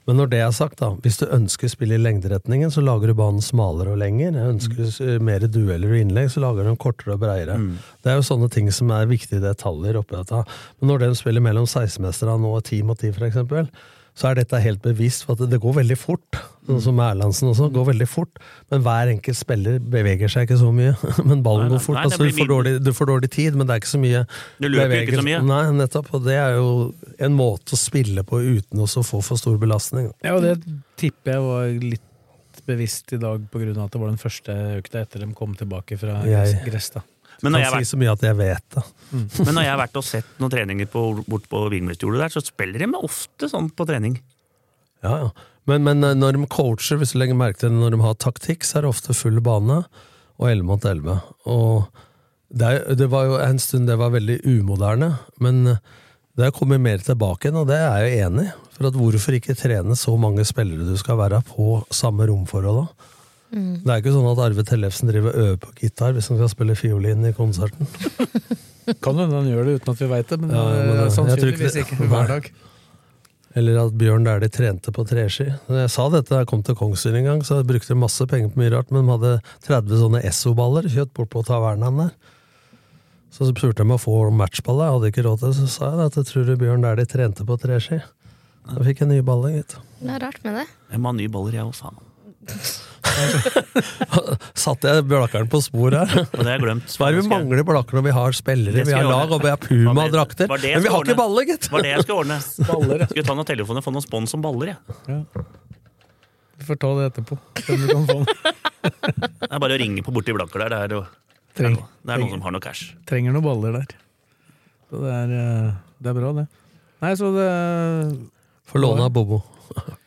S5: Men når det er sagt, da, hvis du ønsker spill i lengderetningen, så lager du banen smalere og lenger. Jeg ønsker eh, mer dueller og innlegg, så lager du den kortere og breiere.
S4: Mm.
S5: Det er jo sånne ting som er viktige detaljer oppi dette. Men når de spiller mellom 16-mesterne og 10 mot 10, for eksempel, så er dette helt bevisst, for at det går veldig fort.
S4: Mm.
S5: Sånn som Erlandsen også, går veldig fort. Men hver enkelt spiller beveger seg ikke så mye. Men ballen
S4: Nei, nei.
S5: går fort.
S4: Nei, det
S5: altså, du,
S4: blir
S5: får dårlig, du får dårlig tid, men det er ikke så mye
S4: Du løper jo ikke så
S5: bevegelse.
S4: mye.
S5: Nei, nettopp. Og det er jo en måte å spille på uten også å få for stor belastning.
S2: Ja, og det tipper jeg var litt bevisst i dag, på grunn av at det var den første økta etter de kom tilbake fra
S5: Jeg-
S2: gress. da.
S4: Men når jeg
S5: jeg
S4: har
S5: kan si så mye at jeg vet det.
S4: Men når jeg har vært og sett noen treninger på, bort på Vingmestjordet der, så spiller de meg ofte sånn på trening.
S5: Ja, ja. Men, men eh, når de coacher, hvis du legger merke til det, når de har taktikk, så er det ofte full bane og 11 mot 11. Og det, er- det var jo en stund det var veldig umoderne, men det har kommet mer tilbake igjen, og det er jeg jo enig i. For at hvorfor ikke trene så mange spillere du skal være på samme romforhold da? Det er ikke sånn at Arve Tellefsen driver og øver på gitar hvis han skal spille fiolin i konserten.
S2: Kan hende han gjør det uten at vi veit det, men,
S5: Ja, men,
S2: eh,
S5: eh, jeg tror ikke
S2: sannsynligvis
S5: det-
S2: ikke hver dag.
S5: Eller at Bjørn Dæhlie trente på treski. Når jeg sa dette da jeg kom til Kongsvinger en gang, så brukte jeg masse penger på mye rart, men de hadde 30 sånne Esso-baller kjøtt bort på tavernaen der. Så spurte jeg om å få matchballer, jeg hadde ikke råd til det, så sa jeg at jeg tror du Bjørn Dæhlie trente på treski. Da fikk jeg nye baller, gitt.
S3: Det er rart med det.
S4: Jeg må ha nye baller, jeg også. han.
S5: Satte jeg Blakkeren på spor her?
S4: Og det har jeg glemt.
S5: Hva er det
S4: Skal
S5: vi
S4: jeg-
S5: mangler Blakker når vi har spillere,
S4: Det
S5: vi
S4: skal
S5: har
S4: jeg
S5: lag
S4: ordne.
S5: og vi har
S4: Var det-
S5: Puma-drakter?
S4: var det jeg
S5: Men vi har
S4: skulle
S5: ikke baller, gitt!
S4: Var det jeg skulle ordne?
S2: Baller, ja.
S4: Skulle ta noen telefoner og få noen spons om baller, jeg.
S2: Vi får ta det etterpå. Se om vi kan få den.
S4: Det er bare å ringe på borti Blakker der. Det er, det er,
S2: Treng,
S4: noe- det er noen som har noe cash.
S2: trenger noen baller der. Så det er, eh, det er bra, det. Nei, så det
S5: For låne av Bobo.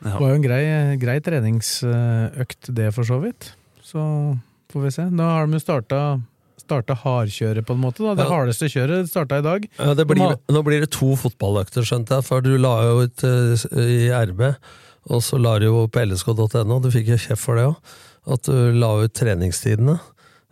S4: Ja.
S2: var jo en grei, grei treningsøkt, det, for så vidt. Så får vi se. Nå har de jo starta, starta hardkjøret, på en måte. da. Det
S5: Ja.
S2: hardeste kjøret starta i dag.
S5: Ja, det
S2: Ma-
S5: blir, nå blir det to fotballøkter, skjønte jeg, for du la jo ut eh, i RB, og så la du jo på lsk.no, du fikk jo kjeft for det òg, at du la ut treningstidene.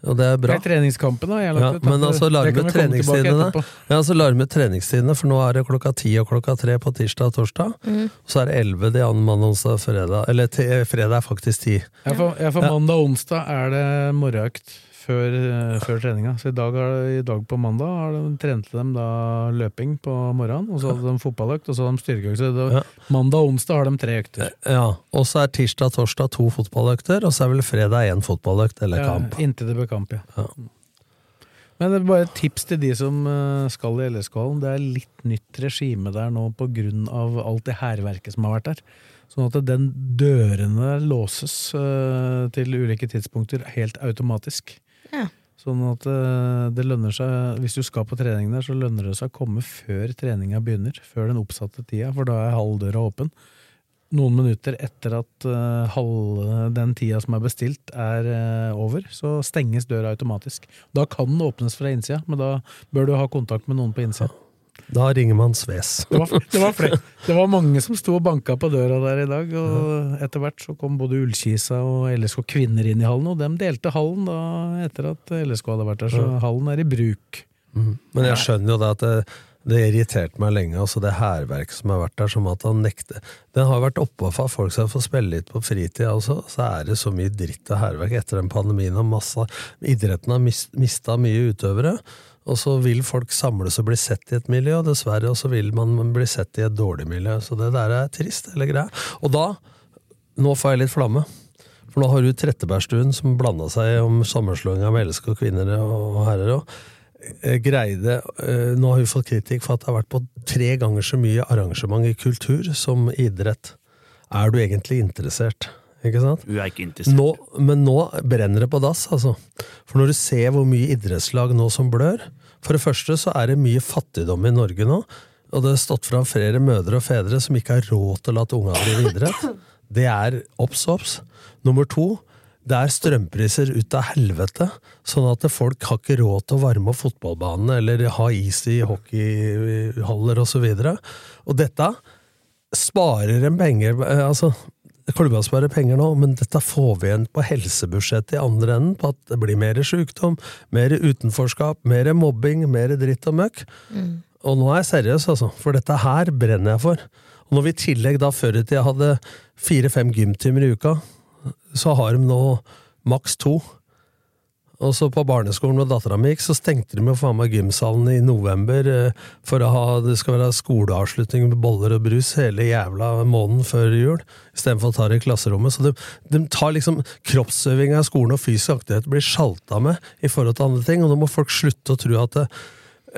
S5: Og det er bra.
S2: Det er treningskampen, da. Jeg har lagt
S5: Ja,
S2: ut, da.
S5: men altså, lar
S2: Det
S5: vi
S2: kan vi komme tilbake
S5: treningstidene
S2: etterpå.
S5: Ja, så lar vi treningstidene, for nå er det klokka ti og klokka tre på tirsdag og torsdag.
S2: Mm.
S5: Og så er det elleve de andre mandag, onsdag og fredag. Eller te, eh, fredag er faktisk ti.
S2: Ja, for, ja, for mandag og onsdag er det morgenøkt før, eh, før treninga. Så i dag, har, i dag på mandag har de, trente de da løping på morgenen, og så hadde de fotballøkt, og så hadde de styrkeøkt. Så det-
S5: Ja.
S2: Mandag og onsdag har de tre økter.
S5: Ja, Og så er tirsdag og torsdag to fotballøkter, og så er vel fredag én fotballøkt eller
S2: Ja,
S5: kamp.
S2: inntil det blir kamp, ja.
S5: Ja.
S2: Men det er bare et tips til de som eh, skal i LSK-hallen. Det er litt nytt regime der nå på grunn av alt det hærverket som har vært der. Sånn at den dørene der låses eh, til ulike tidspunkter helt automatisk.
S3: Ja.
S2: Sånn at eh, det lønner seg, hvis du skal på trening der, så lønner det seg å komme før treninga begynner. Før den oppsatte tida, for da er halvdøra åpen. Noen minutter etter at eh, halve den tida som er bestilt, er eh, over, så stenges døra automatisk. Da kan den åpnes fra innsida, men da bør du ha kontakt med noen på innsida.
S5: Da ringer man Sves.
S2: Det var, det, var flere. det var mange som sto og banka på døra der i dag, og etter hvert så kom både Ullkisa og LSK Kvinner inn i hallen, og dem delte hallen da etter at LSK hadde vært der, så hallen er i bruk.
S5: Men jeg skjønner jo det at det, det irriterte meg lenge, altså det hærverket som har vært der, som at han nekter Den har vært oppå for at folk skal få spille litt på fritida også, så er det så mye dritt og hærverk etter den pandemien, og masse Idretten har mis, mista mye utøvere, og så vil folk samles og bli sett i et miljø, og dessverre, og så vil man bli sett i et dårlig miljø, så det der er trist, hele greia. Og da nå får jeg litt flamme. For nå har du Trettebergstuen, som blanda seg om sammenslåinga med LSK kvinner og herrer òg. Greide eh, Nå har hun fått kritikk for at det har vært på tre ganger så mye arrangement i kultur som idrett. Er du egentlig interessert? Ikke sant?
S4: Hun er ikke interessert.
S5: Nå, men nå brenner det på dass, altså. For når du ser hvor mye idrettslag nå som blør For det første så er det mye fattigdom i Norge nå. Og det har stått fram flere mødre og fedre som ikke har råd til å la unga drive idrett. Det er obs, obs. Nummer to. Det er strømpriser ut av helvete, sånn at folk har ikke råd til å varme opp fotballbanene eller ha is i hockeyhaller osv. Og dette sparer en penger eh, altså, Klubba sparer penger nå, men dette får vi igjen på helsebudsjettet i andre enden. På at det blir mer sykdom, mer utenforskap, mer mobbing, mer dritt og møkk. og nå er jeg seriøs, altså, for dette her brenner jeg for. Og når vi i tillegg da før i tida hadde fire-fem gymtimer i uka, så har de nå maks to. Og så på barneskolen hvor dattera mi gikk, så stengte de jo faen meg gymsalen i november eh, for å ha det skal være skoleavslutning med boller og brus hele jævla måneden før jul, istedenfor å ta det i klasserommet. Så de, de tar liksom kroppsøvinga i skolen og fysisk aktivitet blir sjalta med i forhold til andre ting, og nå må folk slutte å tro at det,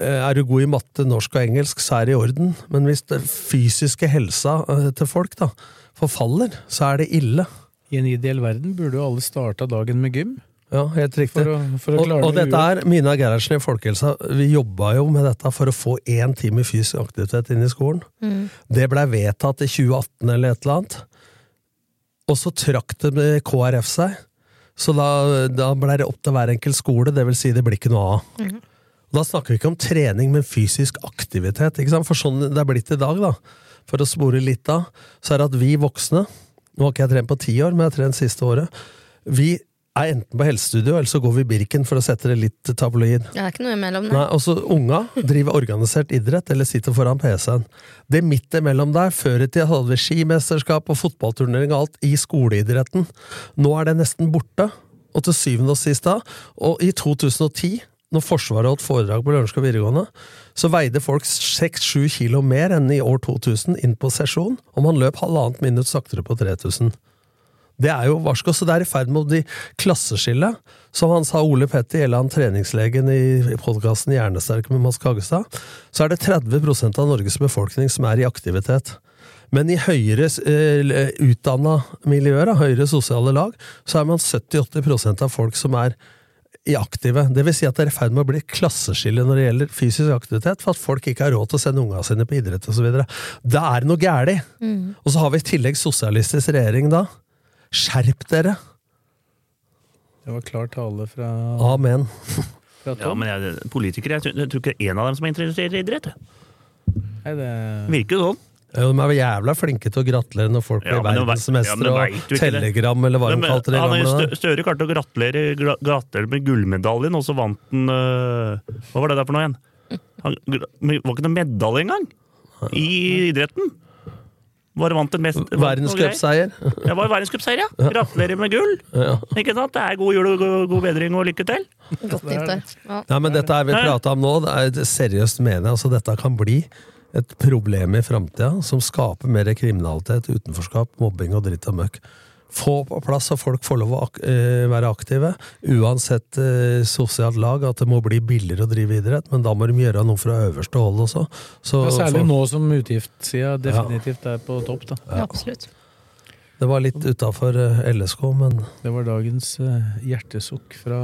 S5: eh, er du god i matte, norsk og engelsk, så er det i orden, men hvis den fysiske helsa eh, til folk da forfaller, så er det ille.
S2: I en ideell verden burde jo alle starta dagen med gym.
S5: Ja, helt riktig.
S2: For å- for å
S5: og,
S2: klare
S5: og
S2: det
S5: dette
S2: i
S5: er Mina Gerhardsen i Folkehelsa. Vi jobba jo med dette for å få én time fysisk aktivitet inn i skolen.
S3: Mm.
S5: Det blei vedtatt i 2018 eller et eller annet. Og så trakk det med KrF seg. Så da, da blei det opp til hver enkelt skole, det vil si det blir ikke noe av. Og Da snakker vi ikke om trening, men fysisk aktivitet. Ikke sant? For sånn det er blitt i dag, da, for å spore litt av, så er det at vi voksne Nå har ikke jeg trent på ti år, men jeg har trent siste året. Vi er enten på helsestudio, eller så går vi i Birken, for å sette det litt tabloid.
S3: Det er ikke noe imellom,
S5: Nei, altså Unga driver organisert idrett eller sitter foran PC-en. Det midt imellom der, før i tida hadde vi skimesterskap og fotballturnering og alt i skoleidretten. Nå er det nesten borte, og til syvende og sist da. Og i 2010, når Forsvaret holdt foredrag på Lørenskog videregående, så veide folk 6-7 kilo mer enn i år 2000 inn på sesjon, og man løp halvannet minutt saktere på 3000. Det er jo varsko, så det er i ferd med å bli klasseskille. Som han sa Ole Petter Gjelland, treningslegen i podkasten Hjernesterk med Mads Kagestad, så er det 30 av Norges befolkning som er i aktivitet. Men i høyere eh, utdanna miljøer, da, høyere sosiale lag, så er man 70-80 av folk som er i aktive. Det vil si at det er i ferd med å bli et klasseskille når det gjelder fysisk aktivitet, for at folk ikke har råd til å sende unga sine på idrett osv. Da er det noe galt!
S3: Mm.
S5: Og så har vi i tillegg sosialistisk regjering da. Skjerp dere!
S2: Det var klar tale fra,
S5: Amen.
S2: fra
S4: Ja,
S2: Tom.
S4: men jeg, Politikere, jeg tror, jeg tror ikke det er én av dem som er interessert i idrett. jeg.
S2: Nei, det...
S4: Virker jo sånn.
S5: Jo, De er vel jævla flinke til å gratulere når folk
S4: Ja, men nå
S5: blir
S4: vei- ja, men
S5: verdensmestere
S4: nå vet du
S5: og
S4: ikke det.
S5: telegram, eller hva de
S4: Men,
S5: kalte det. i
S4: han er jo
S5: gamle
S4: stø-
S5: dager.
S4: Støre klarte å gratulere, gra- gratulere med gullmedaljen, og så vant han øh, Hva var det der for noe igjen? Han, gra- men det var ikke noe medalje engang! I idretten! Bare vant den mest
S5: Verdenscupseier.
S4: Det var verdenscupseier, ja! Gratulerer med gull!
S5: Ja.
S4: Ikke sant? Det er god jul og god, god bedring og lykke til!
S3: nei. Godt nyttår. Ja.
S5: Nei, men dette er vi
S4: Nei.
S5: prata om nå, det er det seriøst mener jeg. Altså, dette kan bli et problem i framtida som skaper mer kriminalitet, utenforskap, mobbing og dritt og møkk. Få på plass at folk får lov å ak eh, være aktive, uansett eh, sosialt lag, at det må bli billigere å drive idrett, men da må de gjøre noe fra øverste hold også. Så,
S2: Ja, særlig
S5: for-
S2: nå som utgiftssida definitivt er på topp. da.
S3: Absolutt.
S5: Det var litt utafor eh, LSK, men
S2: Det var dagens eh, hjertesukk fra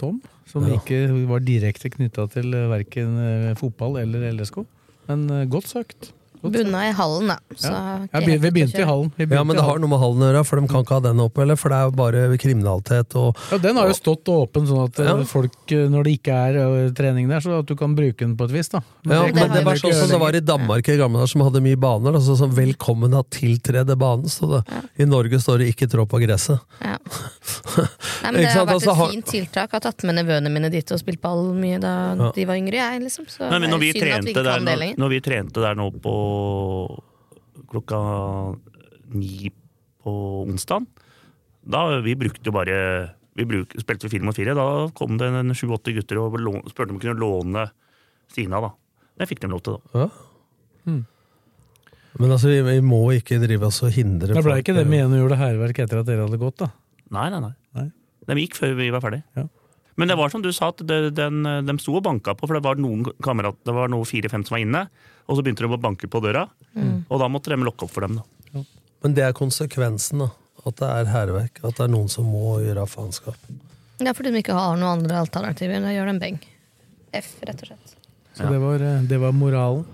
S2: Tom, som
S5: Ja.
S2: ikke var direkte knytta til eh, verken eh, fotball eller LSK. Men eh, godt søkt. Godt søkt.
S3: Bunna i hallen, da. Så
S2: Ja.
S3: ikke
S2: Ja, vi, vi
S3: helt
S2: begynte i
S3: kjørt.
S2: hallen. Vi begynte
S5: Ja, men
S2: i
S5: det har
S2: hallen.
S5: noe med hallen å gjøre, for de kan ikke ha den oppe, eller? For det er jo bare kriminalitet og
S2: ja, den har jo stått åpen, sånn at eh,
S5: Ja.
S2: folk, eh, når det ikke er eh, trening der, så at du kan bruke den på et vis. da.
S5: ja,
S3: det
S5: men
S3: kan
S5: det
S3: man
S5: var
S3: jo
S5: sånn
S3: ikke
S5: som det
S3: gjøre
S5: var i Danmark i gamle dager, som hadde mye baner. Altså sånn 'velkommen har tiltrede banen', sto det. I Norge står det 'ikke trå på gresset'.
S3: Ja. Nei, men det
S5: Ikke
S3: har
S5: sant,
S3: vært
S5: altså,
S3: et
S5: har-
S3: fint tiltak. Jeg har tatt med nevøene mine dit og spilt ball mye da
S5: Ja.
S3: de var yngre, jeg, liksom. Så
S4: Nei, men når,
S3: det
S4: vi
S3: er synd at vi
S4: trente
S3: ikke
S4: der,
S3: kan det
S4: nå-
S3: lenger.
S4: når vi trente der nå på klokka ni på onsdagen, da vi brukte jo bare Vi bruk, spilte film og fire. Da kom det en sju-åtte gutter og lå- spurte om de kunne låne Stina. da. Det fikk de lov til, da.
S5: Ja.
S2: Hmm.
S5: Men altså, vi, vi må ikke drive oss og hindre
S2: Det ble
S5: folk,
S2: ikke det med en og gjorde hærverk etter at dere hadde gått, da.
S4: Nei, nei, nei.
S2: Nei.
S4: De gikk før vi var ferdig.
S2: Ja.
S4: Men det var som du sa, at det, den, de sto og banka på, for det var noen kamerat, det var noen fire-fem som var inne. Og så begynte de å banke på døra,
S3: Mm.
S4: og da måtte de lokke opp for dem. da.
S5: Men det er konsekvensen, da. At det er hærverk. At det er noen som må gjøre faenskap.
S3: Det er fordi de ikke har noen andre alternativer. Da gjør de beng. F, rett og slett.
S2: Så det, var, eh, det var moralen.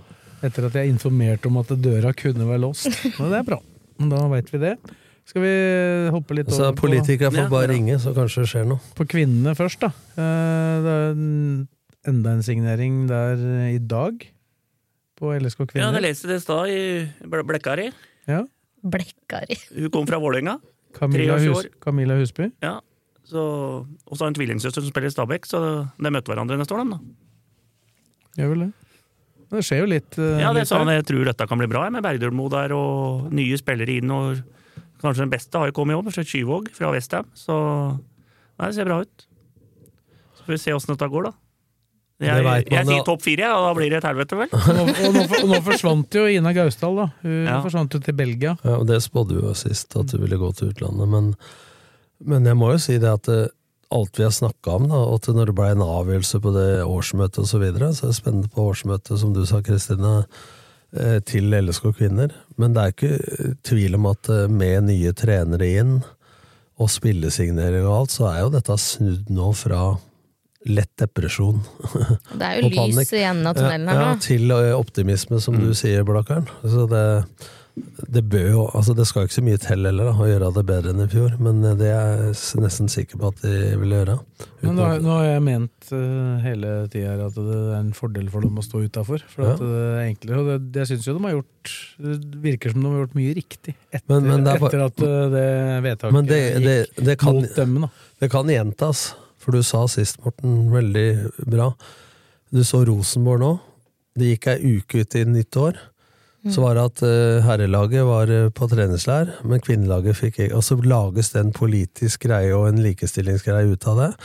S2: Etter at jeg informerte om at døra kunne være låst. Men det er bra. Men da veit vi det. Skal vi hoppe litt
S5: Så
S2: over på
S5: politikere får
S4: Ja,
S5: bare
S4: ja.
S5: ringe, så kanskje det skjer noe.
S2: på kvinnene først, da. Eh, Det er en- enda en signering der eh, i dag. På LSK
S4: Ja,
S2: Kvinner.
S4: jeg leste det i stad, i Ble- Blekkari.
S2: Ja.
S3: Blekkari.
S4: Hun kom fra Vålerenga.
S2: Camilla,
S4: 23
S2: Hus
S4: år.
S2: Camilla Husby.
S4: Ja. Så, og så har hun en tvillingsøster som spiller i Stabæk, så de møtte hverandre neste år. dem, Da.
S2: Gjør vel det. Det skjer jo litt. eh,
S4: Ja, det
S2: litt
S4: er sånn
S2: her.
S4: jeg tror dette kan bli bra, jeg, med Bergdølmo der og nye spillere inn. og Kanskje den beste har jo kommet i år, Skyvåg fra Westham. Så nei, det ser bra ut. Så får vi se åssen dette går, da. Jeg,
S5: Det vet man,
S4: jeg sier
S5: da.
S4: topp fire, ja, og da blir det et helvete, vel?
S2: Og nå, og, nå, og nå forsvant jo Ina Gausdal, da. Hun
S4: Ja.
S2: forsvant jo til Belgia.
S5: Ja, og det spådde vi jo sist, at du ville gå til utlandet. Men, men jeg må jo si det at eh, alt vi har snakka om, da, og at når det ble en avgjørelse på det årsmøtet osv., så, videre, så er det spennende på årsmøtet, som du sa, Kristine, eh, til LSK Kvinner. Men det er ikke eh, tvil om at eh, med nye trenere inn, og spillesignering og alt, så er jo dette snudd nå fra lett depresjon
S3: Det er jo
S5: og panikk.
S3: lys i enden av tunnelen
S5: ja, ja,
S3: her nå.
S5: til eh, optimisme, som
S2: Mm.
S5: du sier, Blakkaren. Så det, det bør jo altså Det skal ikke så mye til heller da, å gjøre det bedre enn i fjor, men eh, det er jeg s- nesten sikker på at de vil gjøre.
S2: Men
S5: Uten
S2: nå,
S5: at-
S2: nå har jeg ment eh, hele tida her at det er en fordel for dem å stå utafor. For at
S5: Ja.
S2: det er enklere. Og det, det syns jo de har gjort Det virker som de har gjort mye riktig etter,
S5: Men- men det er bare-
S2: etter at eh, det vedtaket
S5: Men det, det,
S2: gikk
S5: det, kan,
S2: mot dem. Da.
S5: det kan gjentas, for du sa sist, Morten, veldig bra. Du så Rosenborg nå. Det gikk ei uke ut i nytt år. Så var det at eh, herrelaget var eh, på treningslær, men kvinnelaget fikk ikke. Og så lages det en politisk greie og en likestillingsgreie ut av det.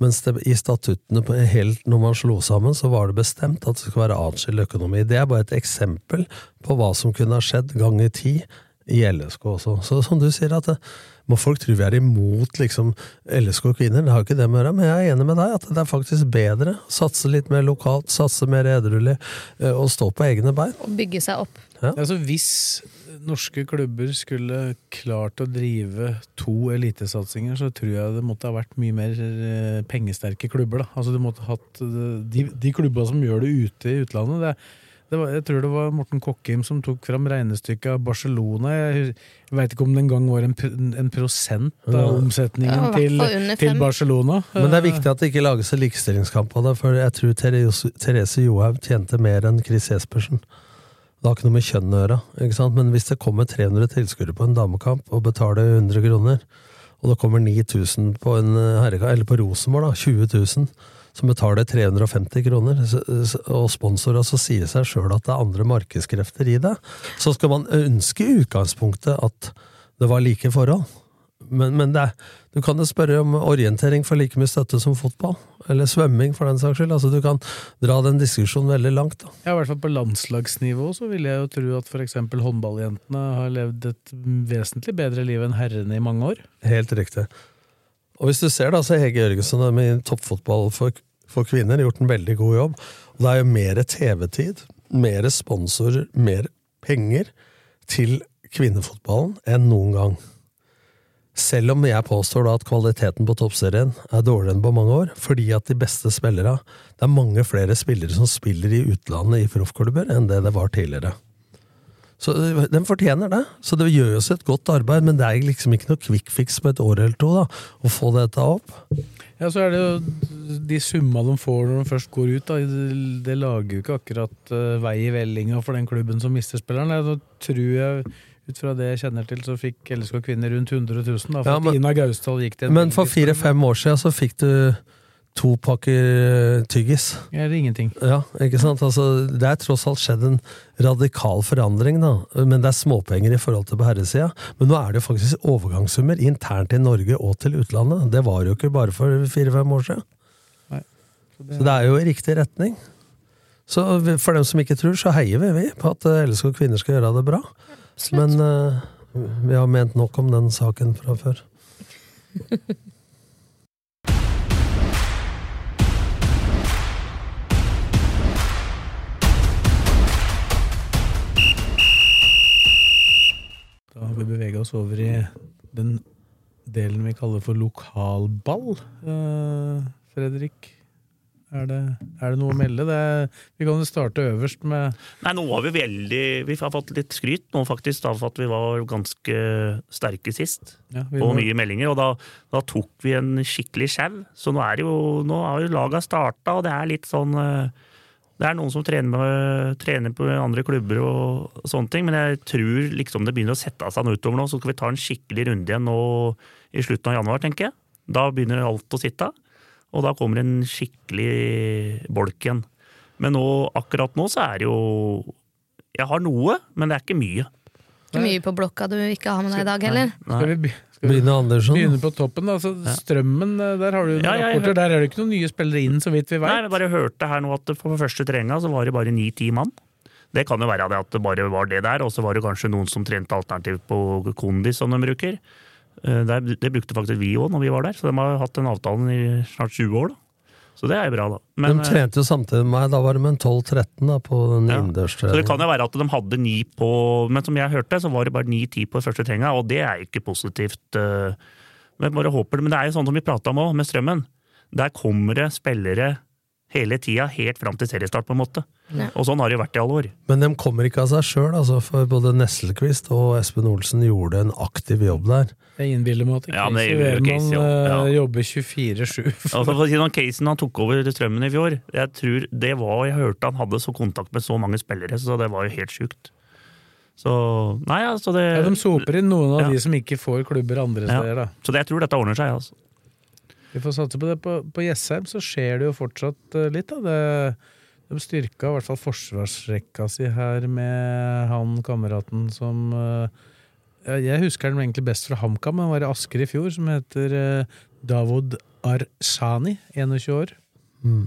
S5: Mens det, i statuttene, på, helt når man slo sammen, så var det bestemt at det skulle være atskilt økonomi. Det er bare et eksempel på hva som kunne ha skjedd ganger ti i LSK også. Så som du sier, at eh, det, må folk tro vi er imot liksom, LSK og kvinner, det har jo ikke det med å gjøre, men jeg er enig med deg at det er faktisk bedre å satse litt mer lokalt, satse mer edruelig eh, og stå på egne bein.
S3: Å bygge seg opp.
S2: Altså, hvis norske klubber skulle klart å drive to elitesatsinger, så tror jeg det måtte ha vært mye mer eh, pengesterke klubber. Da. Altså, du måtte ha hatt eh, de, de klubba som gjør det ute i utlandet. Det, er- det var, jeg tror det var Morten Kokkheim som tok fram regnestykket av Barcelona. Jeg, jeg veit ikke om det engang var en, pr- en prosent av omsetningen
S3: Ja, i hvert
S2: til,
S3: fall under fem.
S2: til Barcelona.
S5: Men det er viktig at det ikke lages en likestillingskamp av det, for jeg tror Therese Therese Johaug tjente mer enn Chris Jespersen. Det har ikke noe med kjønn å gjøre, ikke sant? men hvis det kommer 300 tilskuere på en damekamp og betaler 100 kroner, og det kommer 9000 på, en eh, herreka, eller på Rosenborg, da, 20 000, som betaler 350 kroner, så- så- og sponsorer, så sier det seg sjøl at det er andre markedskrefter i det. Så skal man ønske i utgangspunktet at det var like forhold. Men, men det er, du kan jo spørre om orientering får like mye støtte som fotball. Eller svømming, for den saks skyld. Altså, du kan dra den diskusjonen veldig langt. Da.
S2: Ja, i hvert fall på landslagsnivå så vil jeg jo tro at f.eks. håndballjentene har levd et vesentlig bedre liv enn herrene i mange år.
S5: Helt riktig. Og hvis du ser da, så har Hege Jørgensen har med toppfotball for, for kvinner gjort en veldig god jobb. Og det er jo mer TV-tid, mer sponsorer, mer penger til kvinnefotballen enn noen gang. Selv om jeg påstår da at kvaliteten på toppserien er dårligere enn på mange år, fordi at de beste spillere Det er mange flere spillere som spiller i utlandet i proffklubber enn det det var tidligere. Så eh, Den fortjener det. Så det gjøres et godt arbeid, men det er liksom ikke noe quick fix på et år eller to da, å få dette opp.
S2: Ja, så er det jo de summa de får når de først går ut, da. Det lager jo ikke akkurat eh, vei i vellinga for den klubben som mister spilleren. Nei, Da tror jeg, ut fra det jeg kjenner til, så fikk LSK kvinner rundt 100 000, da, for
S5: Ja, men-
S2: at Ina Gausdal gikk til en
S5: Men for
S2: belgisk klubb.
S5: fire-fem år siden så fikk du to pakker eh, tyggis.
S2: Ja, det er ingenting.
S5: Ja, ikke sant? Altså, det er tross alt skjedd en radikal forandring, da. men det er småpenger i forhold til på herresida. Men nå er det jo faktisk overgangssummer internt i Norge og til utlandet. Det var jo ikke bare for fire-fem år siden.
S2: Nei.
S5: Så det er jo i riktig retning. Så vi- for dem som ikke tror, så heier vi, vi på at eh, LSK kvinner skal gjøre det bra. Men eh, vi har ment nok om den saken fra før.
S2: Da har vi bevega oss over i den delen vi kaller for lokalball. Eh, Fredrik, er det, er det noe å melde? Det er, vi kan jo starte øverst med
S4: Nei, nå var vi veldig Vi har fått litt skryt nå, faktisk, da, for at vi var ganske sterke sist.
S2: ja, vi må-
S4: Og mye meldinger. Og da, da tok vi en skikkelig sjau. Så nå er det jo Nå har jo laga starta, og det er litt sånn eh, Det er noen som trener, med, trener på andre klubber og, og sånne ting, men jeg tror liksom det begynner å sette seg noe utover nå. Så skal vi ta en skikkelig runde igjen nå i slutten av januar, tenker jeg. Da begynner alt å sitte. Og da kommer en skikkelig bolk igjen. Men nå, akkurat nå så er det jo Jeg har noe, men det er ikke mye.
S3: Ikke mye på blokka du ikke har med deg i dag heller.
S2: Skal vi be-
S5: Brine Andersson.
S2: begynne på toppen? da? Så strømmen, eh, der har du noen
S4: Ja, ja, jeg
S2: rapporter.
S4: hørte-
S2: Der er det ikke noen nye spillere inn, så vidt vi
S4: Nei,
S2: veit.
S4: jeg bare hørte her nå at det på første treninga så var det bare ni-ti mann. Det kan jo være det at det bare var det der, og så var det kanskje noen som trente alternativt på kondis, som de bruker. Eh, Det, er- det brukte faktisk vi òg når vi var der, så de har jo hatt den avtalen i snart 20 år. da. Så det er jo bra, da. Men,
S5: de
S4: eh,
S5: trente jo samtidig med meg. Da var de en 12-13 da, på den
S4: Ja. Så det kan
S5: innendørstreningen.
S4: jo være at de hadde ni på Men som jeg hørte, så var det bare ni-ti på første trenga, og det er jo ikke positivt. eh, Men bare håper det. Men det er jo sånn som vi prata om òg, med strømmen. Der kommer det spillere hele tida, helt fram til seriestart, på en måte.
S3: Ja.
S4: Og sånn har det jo vært i alle år.
S5: Men de kommer ikke av seg sjøl, altså, for både Nesselquist og Espen Olsen gjorde en aktiv jobb der.
S2: Jeg innbiller meg at
S4: Ja, men det
S2: Casey
S4: gjør jo
S2: Wehrmann
S4: Casey også, ja.
S2: eh, jobber 24-7.
S4: Altså, for å si noe, Casen han tok over strømmen i fjor. Jeg tror det var, jeg hørte han hadde så kontakt med så mange spillere, så det var jo helt sjukt. Så Nei, altså det,
S2: Ja, de soper inn noen av
S4: Ja.
S2: de som ikke får klubber andre
S4: Ja.
S2: steder. da.
S4: Så det, jeg tror dette ordner seg, altså.
S2: Vi får satse på det. På, på Jessheim så skjer det jo fortsatt eh, litt. da. Det, de styrka i hvert fall forsvarsrekka si her med han kameraten som eh, ja, Jeg husker den egentlig best fra HamKam, men han var i Asker i fjor, som heter eh, Davod Arsani, 21 år. Han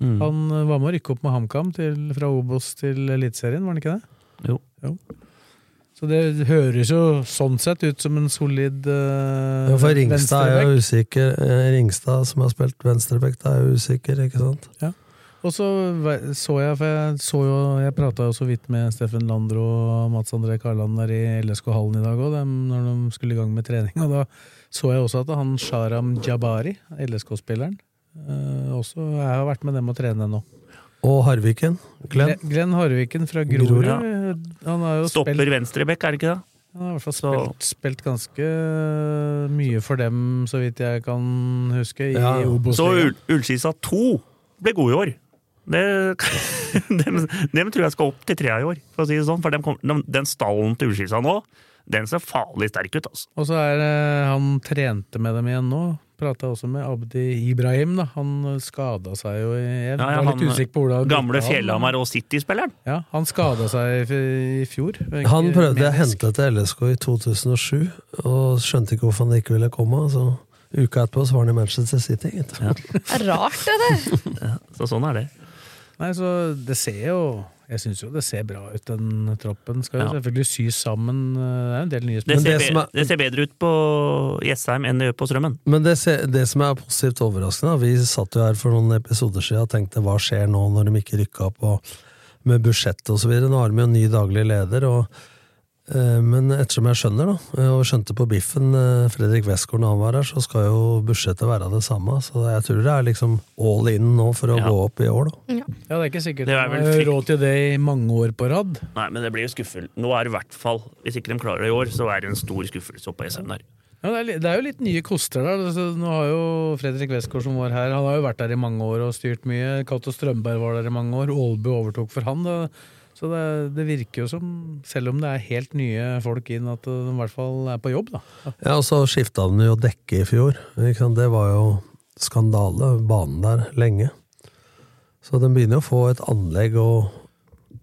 S2: eh, var med å rykke opp med HamKam til- fra Obos til Eliteserien, var han ikke det?
S4: Jo.
S2: Så det høres jo sånn sett ut som en solid uh,
S5: Ja, for Ringstad er jo usikker. eh, Ringstad, som har spilt venstreback, er jo usikker, ikke sant?
S2: Og så ve- så jeg, for jeg så jo Jeg prata jo så vidt med Steffen Landro og Mats André Karland der i LSK-hallen i dag òg, når de skulle i gang med trening. Og da så jeg også at han Sharam Jabari, LSK-spilleren, eh, også jeg har vært med dem og trene nå.
S5: Og Harviken. Glenn.
S2: Glenn, Glenn Harviken fra Grorud.
S4: Ja.
S2: Han har jo
S4: Stopper
S2: spilt,
S4: venstrebekk, er det ikke det?
S2: han har i hvert fall
S4: Så-
S2: spilt, spilt ganske mye for dem, så vidt jeg kan huske, i
S5: Ja.
S2: Obos.
S4: Så Ul Ullskisa 2 ble gode i år. Det, dem, dem tror jeg skal opp til trea i år, for å si det sånn. For dem kom, dem, den stallen til Ullskisa nå, den ser farlig sterk ut, altså.
S2: Og så er det- han trente med dem igjen nå. Prata også med Abdi Ibrahim. da Han skada seg jo i Jeg
S4: Ja, ja,
S2: var litt
S4: han-
S2: usikker på hvordan
S4: Gamle
S2: han-
S4: Fjellhamar og City-spilleren.
S2: Ja, han skada seg i, f- i fjor.
S5: Han prøvde jeg å
S2: Menisk.
S5: hente til LSK i 2007, og skjønte ikke hvorfor han ikke ville komme. Så uka etterpå så var han i Manchester City, gitt.
S3: Det er rart, det der.
S4: Så sånn er det.
S2: Nei, så det ser jo Jeg syns jo det ser bra ut, den troppen. Skal jo
S4: Ja.
S2: selvfølgelig sys sammen. eh, Det er en del nye
S4: Det
S2: spillere.
S4: ser,
S5: det som
S4: be,
S5: er-
S4: det ser bedre ut på Jessheim enn det gjør på Strømmen.
S5: Men det, se- det som er positivt overraskende, da, vi satt jo her for noen episoder siden og tenkte hva skjer nå når de ikke rykka opp og med budsjett og så videre. Nå har de jo en ny daglig leder, og, eh, men ettersom jeg skjønner, da, eh, og skjønte på biffen eh, Fredrik Westgård når han var her, så skal jo budsjettet være det samme. Så jeg tror det er liksom all in nå for å
S4: Ja.
S5: gå opp i år, da.
S2: Ja, det er ikke sikkert
S4: Det er
S2: han
S4: vel
S2: har
S4: frykt-
S2: råd til det i mange år på rad.
S4: Nei, men det blir jo skuffel. Nå er det i hvert fall Hvis ikke de klarer det i år, så er det en stor skuffelse oppe på Jessheim der.
S2: Ja, det, er, li- det er jo litt nye koster der. Altså, nå har jo Fredrik Westgård som var her, han har jo vært der i mange år og styrt mye. Cato Strømberg var der i mange år. Aalbu overtok for han. Da. Så det, det virker jo som, selv om det er helt nye folk inn, at de i hvert fall er på jobb, da.
S5: Ja, og så skifta han jo dekke i fjor. Ikke sant? Det var jo skandale, banen der, lenge. Så den begynner jo å få et anlegg og,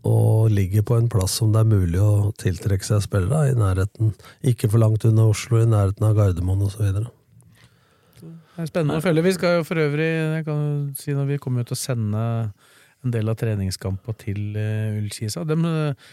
S5: og ligger på en plass som det er mulig å tiltrekke seg spillere i nærheten. Ikke for langt unna Oslo, i nærheten av Gardermoen osv.
S2: Det er spennende å følge. Vi skal jo for øvrig, jeg kan jo si når vi kommer jo til å sende en del av treningskampa til eh, Ullkisa. Dem, eh,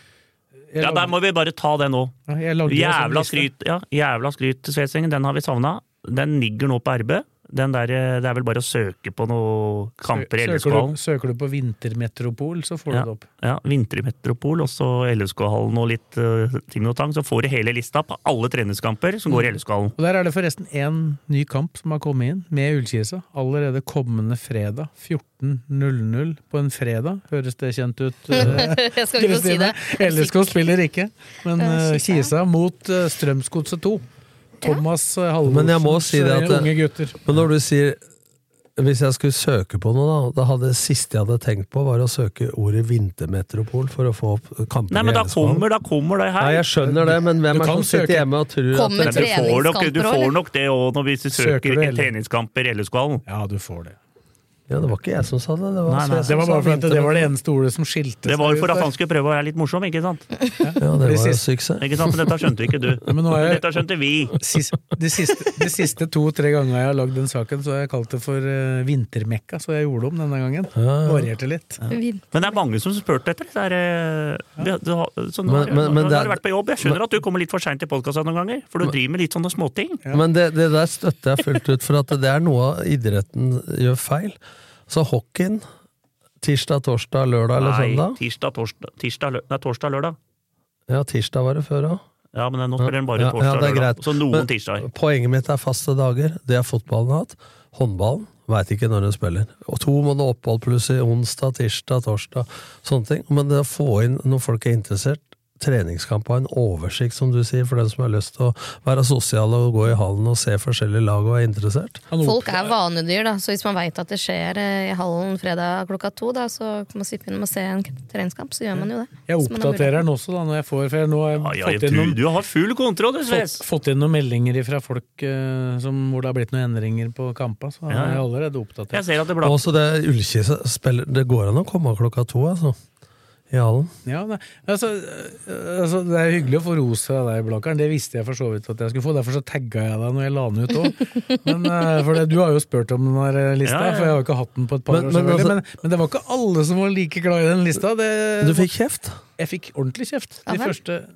S2: jeg
S4: Ja,
S2: lagde-
S4: der må vi bare ta det nå.
S2: Ja, jeg lagde jo en sånn
S4: Jævla
S2: liste.
S4: skryt, ja, jævla skryt til Svesengen, den har vi savna. Den ligger nå på RB. Den der, eh, det er vel bare å søke på noen kamper i
S2: Søker du,
S4: LSK-hallen.
S2: søker du på Vintermetropol, så får du
S4: Ja.
S2: det opp.
S4: Ja, Vinter i Metropol, og så LSK-hallen og litt eh, ting og tang. Så får du hele lista på alle treningskamper som går i LSK-hallen.
S2: Og Der er det forresten én ny kamp som har kommet inn, med Ullkisa. Allerede kommende fredag. 14.00 på en fredag. Høres det kjent ut? eh,
S3: Jeg skal ikke få si det. Jeg er
S2: LSK
S3: sikker.
S2: spiller ikke, men
S3: Eh,
S2: eh,
S3: Kisa.
S2: Kisa mot eh, Strømsgodset 2. Thomas eh,
S5: Men jeg må si
S2: Halvorsens
S5: det
S2: eh,
S5: at-
S2: unge gutter.
S5: Men når du sier Hvis jeg skulle søke på noe, da Det hadde, siste jeg hadde tenkt på, var å søke ordet vintermetropol for å få opp kamper
S4: Nei, men da
S5: i LSK.
S4: kommer, da kommer det
S5: Nei,
S4: her.
S5: jeg skjønner det, men hvem
S2: Du
S5: er det
S2: kan
S5: som sitter
S2: søke.
S5: hjemme og tror at
S3: Kommer
S4: Men du får nok,
S3: treningskamper
S4: du
S3: også,
S4: får
S3: eller?
S4: nok det òg når vi
S2: Søker du
S4: søker i
S2: heller?
S4: treningskamper i LSK-hallen.
S2: Ja, du får det.
S5: Ja, det var ikke jeg som sa det. Det var,
S4: Nei, nei,
S5: Svea
S2: Det
S5: som
S2: var
S5: sa
S2: bare for at det var det eneste ordet som skilte
S4: Det var
S2: seg
S4: for
S2: ut
S4: at
S2: der.
S4: han skulle prøve å være litt morsom, ikke sant?
S5: Ja, det
S2: Det
S5: var en
S2: siste-
S5: suksess.
S4: Ikke sant? Men dette skjønte ikke du.
S2: men nå er jeg-
S4: Dette skjønte vi.
S2: Sist, de siste, de siste to-tre gangene jeg har lagd den saken, så har jeg kalt det for eh, vintermekka, så jeg gjorde om denne gangen.
S5: ja.
S2: Varierte litt.
S3: Vin-
S4: Men det er mange som spurte etter. Det er, eh, det, det, har- så nå, har-
S5: Men- men- men
S4: nå
S5: det
S4: har
S5: er-
S4: du vært på jobb. Jeg skjønner at du kommer litt for seint til podkasta noen ganger, for du driver med litt sånne småting.
S5: Men det, det der støtter jeg fullt ut, for at det er noe av idretten gjør feil. Så hockeyen tirsdag, torsdag, lørdag eller
S4: Nei,
S5: søndag?
S4: tirsdag, torsdag, tirsdag, lø- nei, torsdag lørdag.
S5: Ja, tirsdag var det før òg.
S4: Ja, men nå spiller den bare
S5: Ja, ja,
S4: torsdag
S5: det er
S4: lørdag.
S5: greit.
S4: Så noen
S5: Men-
S4: tirsdager.
S5: Poenget mitt er faste dager. Det har fotballen hatt. Håndballen veit ikke når hun spiller. Og to måneder opphold plutselig onsdag, tirsdag, torsdag. Sånne ting. Men det å få inn når folk er interessert, treningskamp av en oversikt, som du sier, for den som har lyst til å være sosial og gå i hallen og se forskjellige lag og er interessert.
S2: Han
S3: Folk er vanedyr, da, så hvis man veit at det skjer eh, i hallen fredag klokka to, da, så kan man sitte innom og se en k- treningskamp, så gjør man jo det.
S2: Jeg
S3: Hvis man har mulighet.
S2: oppdaterer den også, da, når jeg får For jeg nå har jeg
S4: Ja, ja,
S2: fått inn
S4: du,
S2: noen
S4: du har full kontroll, du, Sves!
S2: Fått, fått inn noen meldinger fra folk eh, som, hvor det har blitt noen endringer på kampa. Så
S4: Ja,
S2: har
S4: ja.
S2: jeg allerede oppdatert.
S4: Jeg ser at det blir
S5: Og også det Ullkisa spiller Det går an å komme klokka to, altså. I hallen.
S2: Ja, det, altså, eh, altså, det er hyggelig å få ros fra deg, Blakkaren. Det visste jeg for så vidt at jeg skulle få. Derfor så tagga jeg deg når jeg la den ut òg. For det- du har jo spurt om den her eh, lista,
S4: Ja, ja.
S2: for jeg har jo ikke hatt den på et par
S5: Men-
S2: år.
S5: men
S2: selvfølgelig.
S5: altså-
S2: men, men det var ikke alle som var like glad i den lista. Det,
S5: Du fikk kjeft?
S2: Jeg fikk ordentlig kjeft.
S3: Ja
S2: De
S3: vel.
S2: første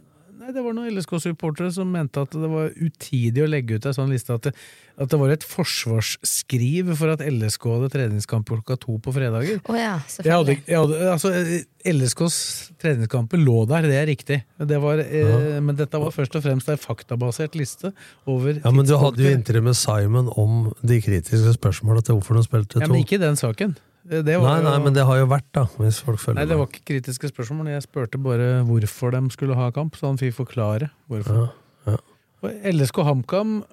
S2: Nei, Det var noen LSK-supportere som mente at det var utidig å legge ut ei sånn liste. At det, at det var et forsvarsskriv for at LSK hadde treningskamp klokka to på fredager.
S3: Å ja,
S2: Jeg hadde,
S3: selvfølgelig.
S2: jeg hadde, altså, eh, LSKs treningskamper lå der, det er riktig. Det var, eh, men dette var først og fremst ei faktabasert liste over
S5: Ja, men du hadde jo
S2: tidspunkter.
S5: intervju med Simon om de kritiske spørsmåla til hvorfor de spilte
S2: ja,
S5: to.
S2: Men ikke i den saken. Eh, Det var,
S5: Nei, nei, men det har jo vært, da, hvis folk følger
S2: Nei, det var ikke kritiske spørsmål. Jeg spurte bare hvorfor de skulle ha kamp, så han fikk forklare hvorfor.
S5: Ja, ja.
S2: Og LSK HamKam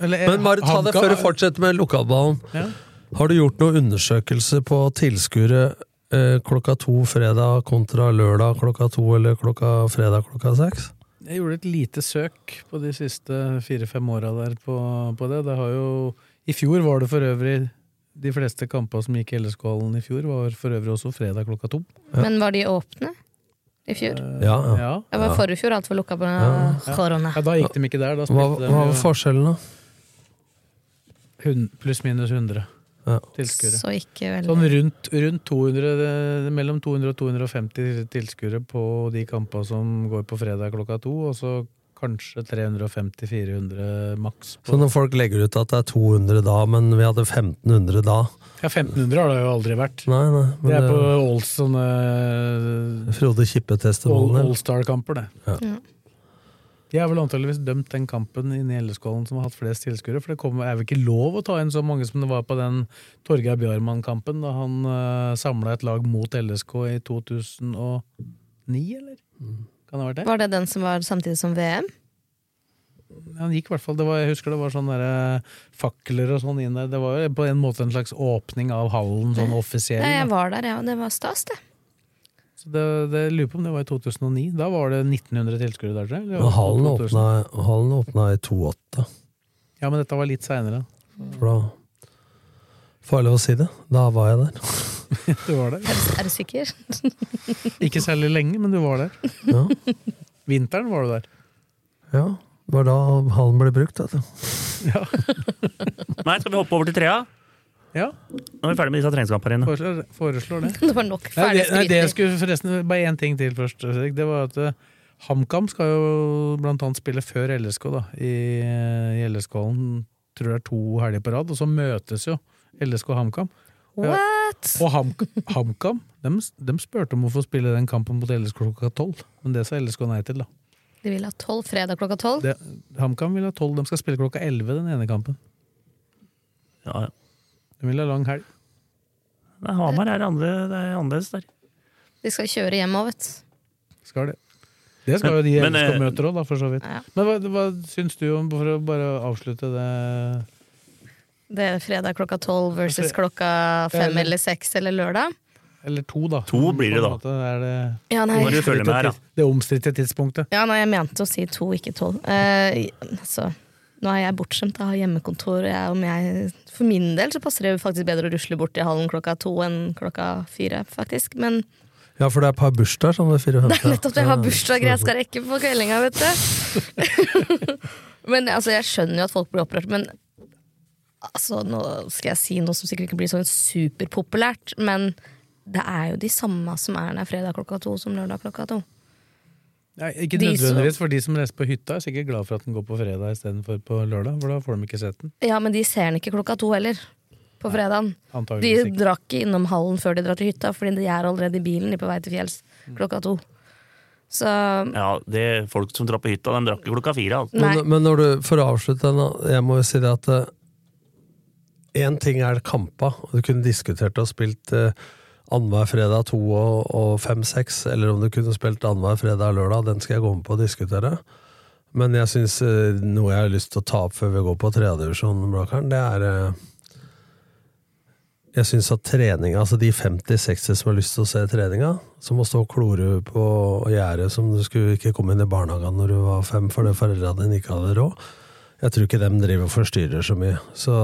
S2: eller, eh,
S5: Men bare ta det
S2: HamKam-
S5: før du fortsetter med lokalballen.
S2: Ja.
S5: Har du gjort noen undersøkelse på tilskuere eh, klokka to fredag kontra lørdag klokka to eller klokka fredag klokka seks?
S2: Jeg gjorde et lite søk på de siste fire-fem åra der på, på det. Det har jo I fjor var det for øvrig De fleste kamper som gikk i LSK-hallen i fjor, var for øvrig også fredag klokka to. Eh,
S3: Men var de åpne i fjor?
S5: Ja, ja.
S2: Ja.
S3: Det var forrige fjor alt var lukka på korona.
S2: ja, Da gikk de ikke der. Da
S5: Hva,
S2: spilte de
S5: hva var
S2: jo
S5: forskjellen, da?
S2: hun- pluss-minus 100
S5: Ja.
S2: tilskuere.
S3: Så ikke veldig
S2: Sånn rundt, rundt 200, eh, mellom 200 og 250 tilskuere på de kampene som går på fredag klokka to, og så kanskje 350-400 maks.
S5: Så
S2: På.
S5: når folk legger ut at det er 200 da, men vi hadde 1500 da
S2: Ja, 1500 har det jo aldri vært.
S5: Nei, nei, men
S2: Det er
S5: det
S2: på Olsson eh,
S5: Frode Kippe-testimonier.
S2: All-Star-kamper, det.
S5: Ja.
S3: Ja.
S2: Jeg har vel antageligvis dømt den kampen inne i LSK-hallen som har hatt flest tilskuere, for det kom, er vel ikke lov å ta inn så mange som det var på den Torgeir Bjarmann-kampen, da han uh, samla et lag mot LSK i 2009, eller?
S5: Mm.
S2: Kan det ha vært det?
S3: Var det den som var samtidig som VM?
S2: Han gikk i hvert fall, det var, Jeg husker det var sånne der, eh, fakler og sånn inn der. Det var jo på en måte en slags åpning av hallen, sånn offisiell.
S3: Nei,
S2: da.
S3: jeg var der, ja. Det var stas, det.
S2: Så det, det jeg lurer på om det var i 2009. Da var det 1900 tilskuere der, tror jeg. eller
S5: Men hallen
S2: 2000.
S5: åpna, hallen åpna i 2,8,
S2: Ja, men dette var litt seinere.
S5: for da Farlig å si det. Da var jeg der.
S2: Du var der.
S3: Er du sikker?
S2: Ikke særlig lenge, men du var der.
S5: Ja.
S2: Vinteren var du der.
S5: Ja, det var da hallen ble brukt. Vet du.
S2: Ja,
S4: Nei, skal vi hoppe over til trea?
S2: ja
S4: Nå er vi ferdig med disse treningskampene. dine.
S2: foreslår, foreslår det.
S3: Det var nok
S2: Nei, det,
S3: ferdig
S2: nei, det jeg
S3: skryting.
S2: skulle forresten Bare én ting til først. Fredrik. Det var at eh, HamKam skal jo blant annet spille før LSK, da. I, i LSK-hallen tror jeg er to helger på rad, og så møtes jo LSK og HamKam.
S3: What?
S2: Og Ham- HamKam de, spurte om å få spille den kampen mot LSK klokka tolv, men det sa LSK nei til. da
S3: De vil ha tolv fredag klokka tolv.
S2: det, HamKam vil ha tolv, de skal spille klokka elleve den ene kampen.
S4: Ja, ja.
S2: De vil ha lang helg.
S4: Nei, Hamar er, andre, det er annerledes der.
S3: De skal kjøre hjem òg, vet du.
S2: Skal det. Det skal jo de
S4: Men- men, eh,
S2: LSK-møter òg, da, for så vidt.
S3: Ja.
S2: Men hva, hva syns du om, for å bare avslutte det
S3: Det er fredag klokka tolv versus klokka fem
S2: Eller-
S3: eller seks eller lørdag.
S2: Eller to, da.
S4: To blir det,
S2: På en
S4: da.
S2: måte Er det,
S3: Ja,
S4: Nå må
S3: nei.
S4: du følge med her, da.
S2: det omstridte tidspunktet.
S3: Ja, nei, jeg mente å si to, ikke tolv. Eh, altså, Nå er jeg bortskjemt, jeg har hjemmekontor. og Jeg, om jeg, for min del så passer det jo faktisk bedre å rusle bort i hallen klokka to enn klokka fire. faktisk. Men
S5: Ja, for det er et par bursdager som det er
S3: det
S5: 54.
S3: er nettopp det jeg har bursdager jeg skal rekke på kveldinga, vet du. men altså, jeg skjønner jo at folk blir opprørt, men altså, nå skal jeg si noe som sikkert ikke blir sånn superpopulært, men det er jo de samme som er der fredag klokka to som lørdag klokka to.
S2: Nei, ikke
S3: De som-
S2: nødvendigvis, for de som reiser på hytta, er sikkert glad for at den går på fredag istedenfor på lørdag, for da får de ikke sett den.
S3: Ja, men de ser den ikke klokka to heller. På fredagen. De
S2: Antageligvis ikke.
S3: drar ikke innom hallen før de drar til hytta, fordi de er allerede i bilen de er på vei til fjells
S2: Mm.
S3: klokka to. Så
S4: Ja, det er Folk som drar på hytta, de drakk jo klokka fire. Altså.
S3: Nei.
S5: Men, men når du, for å avslutte den, da, jeg må jo si det at én ting er kampa, og du kunne diskutert og spilt eh, annenhver fredag to og, og fem-seks, eller om du kunne spilt annenhver fredag og lørdag, den skal jeg gå med på å diskutere. Men jeg syns eh, noe jeg har lyst til å ta opp før vi går på tredjedivisjon, Blakkaren, det er eh, Jeg syns at treninga, altså de 50-60 som har lyst til å se treninga, som å stå og klore på gjerdet som du skulle ikke komme inn i barnehagen når du var fem fordi foreldra dine ikke hadde råd, jeg tror ikke dem driver og forstyrrer så mye. Så,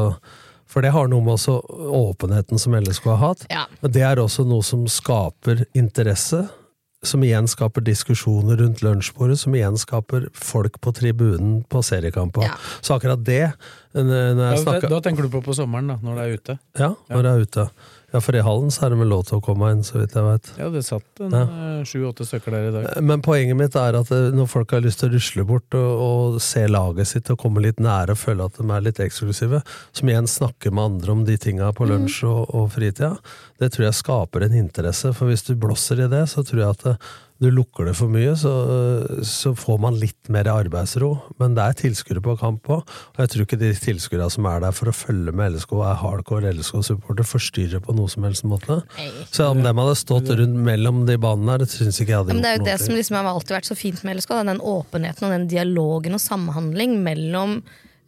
S5: for det har noe med også åpenheten som LSK har hatt.
S3: Ja.
S5: Men det er også noe som skaper interesse, som igjen skaper diskusjoner rundt lunsjbordet, som igjen skaper folk på tribunen på seriekamper.
S3: Ja.
S5: Så akkurat det når
S2: Da,
S5: jeg snakker,
S2: da tenker du på på sommeren, da, når det er ute.
S5: ja, når jeg er ute. Ja, for i hallen så er det vel lov til å komme inn, så vidt jeg veit.
S2: Ja, det satt en
S5: Ja.
S2: eh, sju-åtte stykker der i dag.
S5: Men poenget mitt er at eh, når folk har lyst til å rusle bort og, og se laget sitt og komme litt nære og føle at de er litt eksklusive, som igjen snakker med andre om de tinga på lunsj og, og fritida, det tror jeg skaper en interesse. For hvis du blåser i det, så tror jeg at eh, du lukker det for mye, så, eh, så får man litt mer arbeidsro. Men det er tilskuere på kamp òg, og jeg tror ikke de tilskuerne som er der for å følge med LSK, og er hardcore LSK-supporter, forstyrrer på noe som helst måte. Så om dem hadde stått rundt mellom de banene der, det syns ikke jeg hadde
S3: men det er jo
S5: gjort noe
S3: det som
S5: til.
S3: liksom har alltid vært så fint med LSK. da, Den åpenheten og den dialogen og samhandling mellom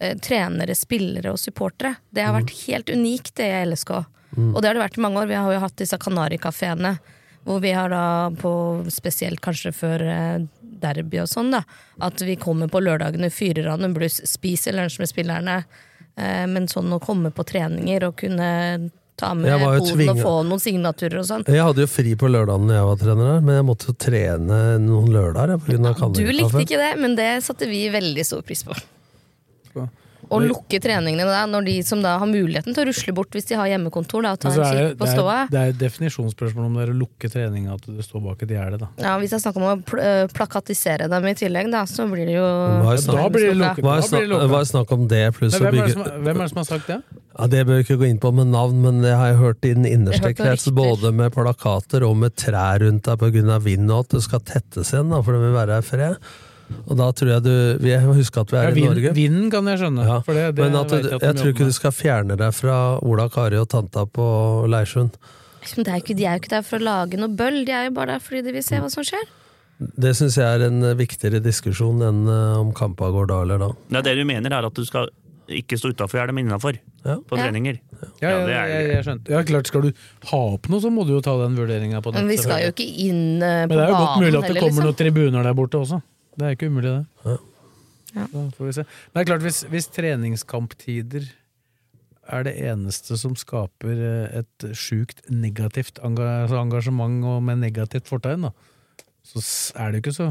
S3: eh, trenere, spillere og supportere. Det
S5: Mm.
S3: har vært helt unikt, det i LSK. Og det har det vært i mange år. Vi har jo hatt disse Kanarikafeene. Hvor vi har da, på, spesielt kanskje før eh, derby og sånn, da, at vi kommer på lørdagene, fyrer av noen bluss, spiser lunsj med spillerne. Eh, men sånn å komme på treninger og kunne ta med
S5: Jeg var jo
S3: poden og
S5: tvinget-
S3: få noen signaturer og sånn.
S5: Jeg hadde jo fri på lørdagen da jeg var trener her, men jeg måtte jo trene noen lørdager. jeg, På grunn av
S3: Du likte
S5: Kanarikaffe.
S3: ikke det, men det satte vi veldig stor pris på. Å lukke treningene da, når de som da har muligheten til å rusle bort hvis de har hjemmekontor, da, og ta en
S2: Men så Altså, er
S3: kikk
S2: det,
S3: på
S2: det,
S3: ståa.
S2: er, det er et definisjonsspørsmål om det er å lukke treninga at du står bak et gjerde, da.
S3: Ja, hvis jeg snakker om å pl øh, plakatisere dem i tillegg, da, så blir det jo
S5: Hva er
S2: Da blir det lukket.
S5: Hva
S2: Da blir det
S5: er, snak,
S2: lukket.
S5: hva er snakk om det, pluss
S2: Nei,
S5: å
S2: hvem, er det
S5: bygge
S2: som, hvem er det som har sagt det?
S5: ja, Det bør vi ikke gå inn på med navn, men det har jeg hørt i den innerste
S3: Jeg har hørt noen
S5: krets,
S3: rykter.
S5: både med plakater og med trær rundt deg pga. vind, og at det skal tettes igjen, da, for det vil være her fred. Og da tror jeg du Vi må huske at vi
S2: Ja,
S5: er i
S2: vin,
S5: Norge.
S2: vinden kan jeg skjønne.
S5: Ja,
S2: For det, det
S5: men at
S2: vet
S5: du,
S2: jeg, at de
S5: jeg tror
S2: jobber
S5: ikke
S2: med.
S5: du skal fjerne deg fra Ola, Kari og tanta på Leirsund.
S3: Men det er jo ikke, De er jo ikke der for å lage noe bøll, de er jo bare der fordi de vil se hva som skjer.
S5: Det syns jeg er en eh, viktigere diskusjon enn eh, om kampa går da eller da.
S4: Nei, det du mener er at du skal ikke stå utafor gjerdet, men innafor.
S5: Ja.
S4: På
S3: Ja.
S4: treninger.
S2: Ja,
S4: Ja, det
S2: ja,
S4: er-
S2: jeg, jeg skjønte. Ja, klart skal du ha opp noe, så må du jo ta den vurderinga på nett.
S3: Men vi skal jo
S2: selvfølgelig.
S3: ikke inn øh, på
S2: Men det er jo godt
S3: banen
S2: mulig at det
S3: heller,
S2: kommer
S3: liksom.
S2: noen tribuner der borte også. Det er ikke umulig, det.
S5: Ja.
S3: Ja.
S2: Da får vi se. Men det er klart, hvis, hvis treningskamptider er det eneste som skaper eh, et sjukt negativt enga- altså engasjement og med negativt fortegn, da, så s- er det jo ikke så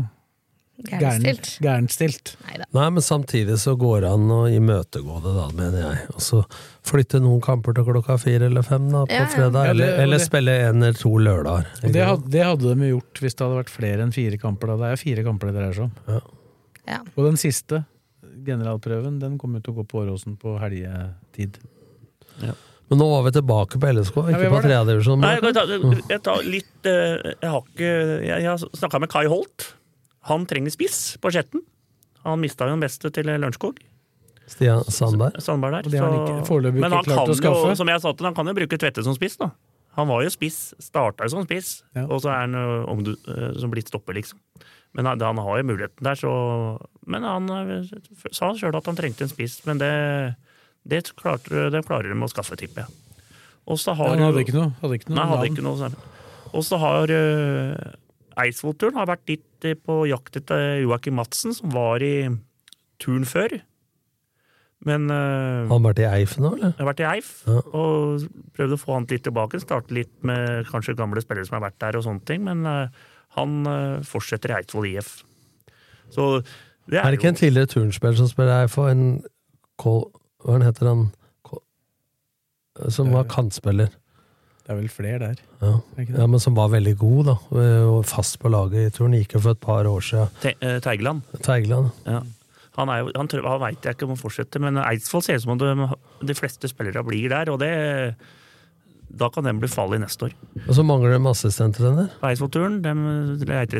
S2: gæren-
S3: Gærenstilt.
S2: gærent stilt.
S3: Neida.
S5: Nei, men samtidig så går det an å imøtegå det, da, mener jeg. Og så flytte noen kamper til klokka fire eller fem da, på
S3: Ja, ja.
S5: fredag,
S2: Ja, det-
S5: eller,
S2: og
S5: eller
S2: det-
S5: spille en eller to lørdager.
S2: Og det hadde, det hadde de jo gjort hvis det hadde vært flere enn fire kamper. Da. Det er fire kamper det dreier seg om.
S3: Ja.
S2: Og den siste, generalprøven, den kommer jo til å gå på Åråsen på helgetid.
S5: Men nå var vi tilbake på LSK,
S2: Ja,
S5: ikke
S2: vi
S5: på
S2: var det.
S5: tredjedivisjon.
S4: Nei, jeg, kan ta, jeg tar litt eh, Jeg har ikke Jeg, jeg har snakka med Kai Holt. Han trenger spiss på sjetten. Han mista jo den beste til Lørenskog.
S5: Stian Sandberg.
S4: Sandberg
S2: Og
S4: der.
S2: det har han
S4: så-
S2: ikke- foreløpig
S4: men
S2: ikke
S4: han
S2: klart
S4: kan
S2: å skaffe.
S4: jo, som jeg sa til, han kan jo bruke Tvedte som spiss, da. Han var jo spiss, starta jo som spiss,
S2: Ja.
S4: og så er han ø, om du, ø, som blitt stopper, liksom. Men han, han har jo muligheten der, så Men han ø, sa sjøl at han trengte en spiss, men det, det, klarte, det klarer de å skaffe, tipper jeg. Og så har
S2: Han hadde
S4: du-
S2: ikke noe, hadde ikke noe
S4: Nei, hadde
S2: navn.
S4: ikke noe særlig. Og så har uh, Eidsvoll-turen har vært litt eh, på jakt etter Joakim Madsen, som var i turen før. Men eh,
S5: Har han vært i Eif nå, eller?
S4: jeg har vært i Eif
S5: Ja.
S4: og prøvd å få han litt tilbake. Starte litt med kanskje gamle spillere som har vært der og sånne ting, men eh, han eh, fortsetter i Eidsvoll IF. Så det
S5: Er
S4: er,
S5: det ikke
S4: jo
S5: en tidligere turnspiller som spiller her for en Kol... Hva er han heter han? Kol, som var kantspiller.
S2: Det er vel flere der.
S5: Ja.
S2: er det ikke det?
S5: ja, men som var veldig god, da. Eh, Og fast på laget i turn. Gikk jo for et par år siden.
S4: Te eh, Teigeland.
S5: Teigeland.
S4: Ja. Han, er, jo- han, tror- han veit jeg ikke om han fortsetter, men Eidsvoll ser ut som om de, de fleste spillere blir der, og det da kan den bli farlig neste år.
S5: Og så mangler de assistenttrener.
S4: På Eidsvoll-turen de leter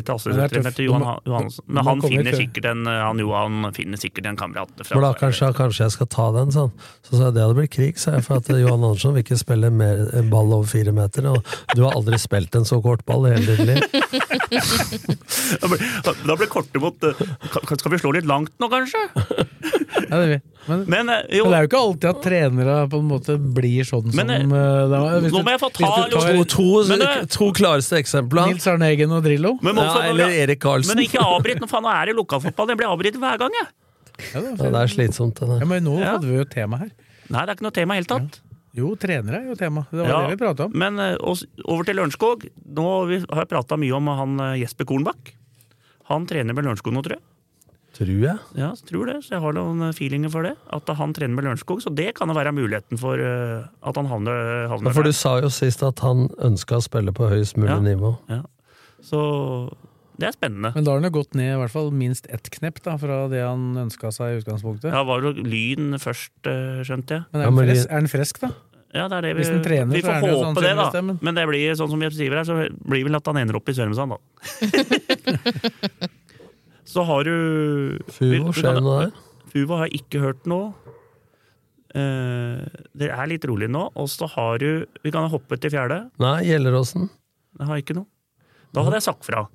S2: Men det
S4: etter
S2: er
S4: assistenttrener
S2: tøft.
S4: til
S2: Du må-
S4: Johan Johansen.
S2: du må
S4: Men han
S2: komme
S4: finner,
S2: til-
S4: sikkert en, eh, han, Johan finner sikkert en kamerat. fra-
S5: For da kanskje, kanskje jeg skal ta den, sånn. Så sa jeg det hadde blitt krig, sa jeg. For at eh, Johan Andersson vil ikke spille mer en ball over fire meter. Og du har aldri spilt en så kort ball i hele ditt liv.
S4: Da blir, da blir kortet mot eh, ka- Skal vi slå litt langt nå, kanskje?
S2: Ja, det vet. Men,
S4: Men eh,
S2: men
S4: jo,
S2: det er jo ikke alltid at trenere på en måte blir sånn
S4: Men, eh,
S2: som eh, det var. Hvis
S4: nå
S2: du-
S4: må jeg få
S2: hvis du
S4: ta
S2: tar
S4: Lars
S5: To, to,
S4: Men det-
S5: to klareste eksempler.
S2: Nils Arne Eggen og Drillo.
S4: men må
S5: Ja,
S4: også-
S5: eller Erik Karlsen.
S4: Men ikke avbryt, nå faen, nå er det lokalfotball. Jeg blir avbrytet hver gang, jeg.
S2: Ja, det var
S5: Ja,
S2: fint.
S5: det er slitsomt, det
S2: ja,
S5: der.
S2: men nå
S4: Ja.
S2: hadde vi jo et tema her.
S4: Nei, det er ikke noe tema i hele tatt.
S2: Jo, trenere er jo tema. Det var
S4: Ja,
S2: det vi pratet om.
S4: Men eh, oss- over til Lørenskog. Nå har vi- har jeg prata mye om han eh, Jesper Kornbakk. Han trener med Lørenskog nå, tror jeg.
S5: Tror jeg.
S4: Ja, jeg tror det, så jeg har noen eh, feelinger for det. At han trener med Lørenskog, så det kan jo være muligheten for eh, at han havner, havner
S5: Ja, for
S4: der.
S5: du sa jo sist at han ønska å spille på høyest mulig
S4: Ja.
S5: nivå.
S4: Ja. Så det er spennende.
S2: Men da har han jo gått ned i hvert fall minst ett knepp da, fra det han ønska seg i utgangspunktet.
S4: Ja, var jo Lyn først, eh, skjønte jeg.
S2: Men er
S5: Ja,
S2: han
S5: men de-
S2: fresk, er han frisk, da?
S4: Ja, det er det vi,
S2: Hvis den trener,
S4: vi
S2: så
S4: får
S2: er det jo
S4: håpe
S2: sånn
S4: det, da.
S2: trenerstemmen.
S4: Men det blir sånn som jeg skriver her, så blir vel at han ender opp i Sørumsand, da. så har du vi-
S5: Fuvo,
S4: vi
S5: skjer
S4: kan-
S5: det noe der?
S4: Fuvo har jeg ikke hørt noe. Eh, det er litt rolig nå. Og så har du Vi kan hoppe til fjerde.
S5: Nei, Gjelleråsen.
S4: Jeg har ikke noe. Da hadde jeg sagt fra.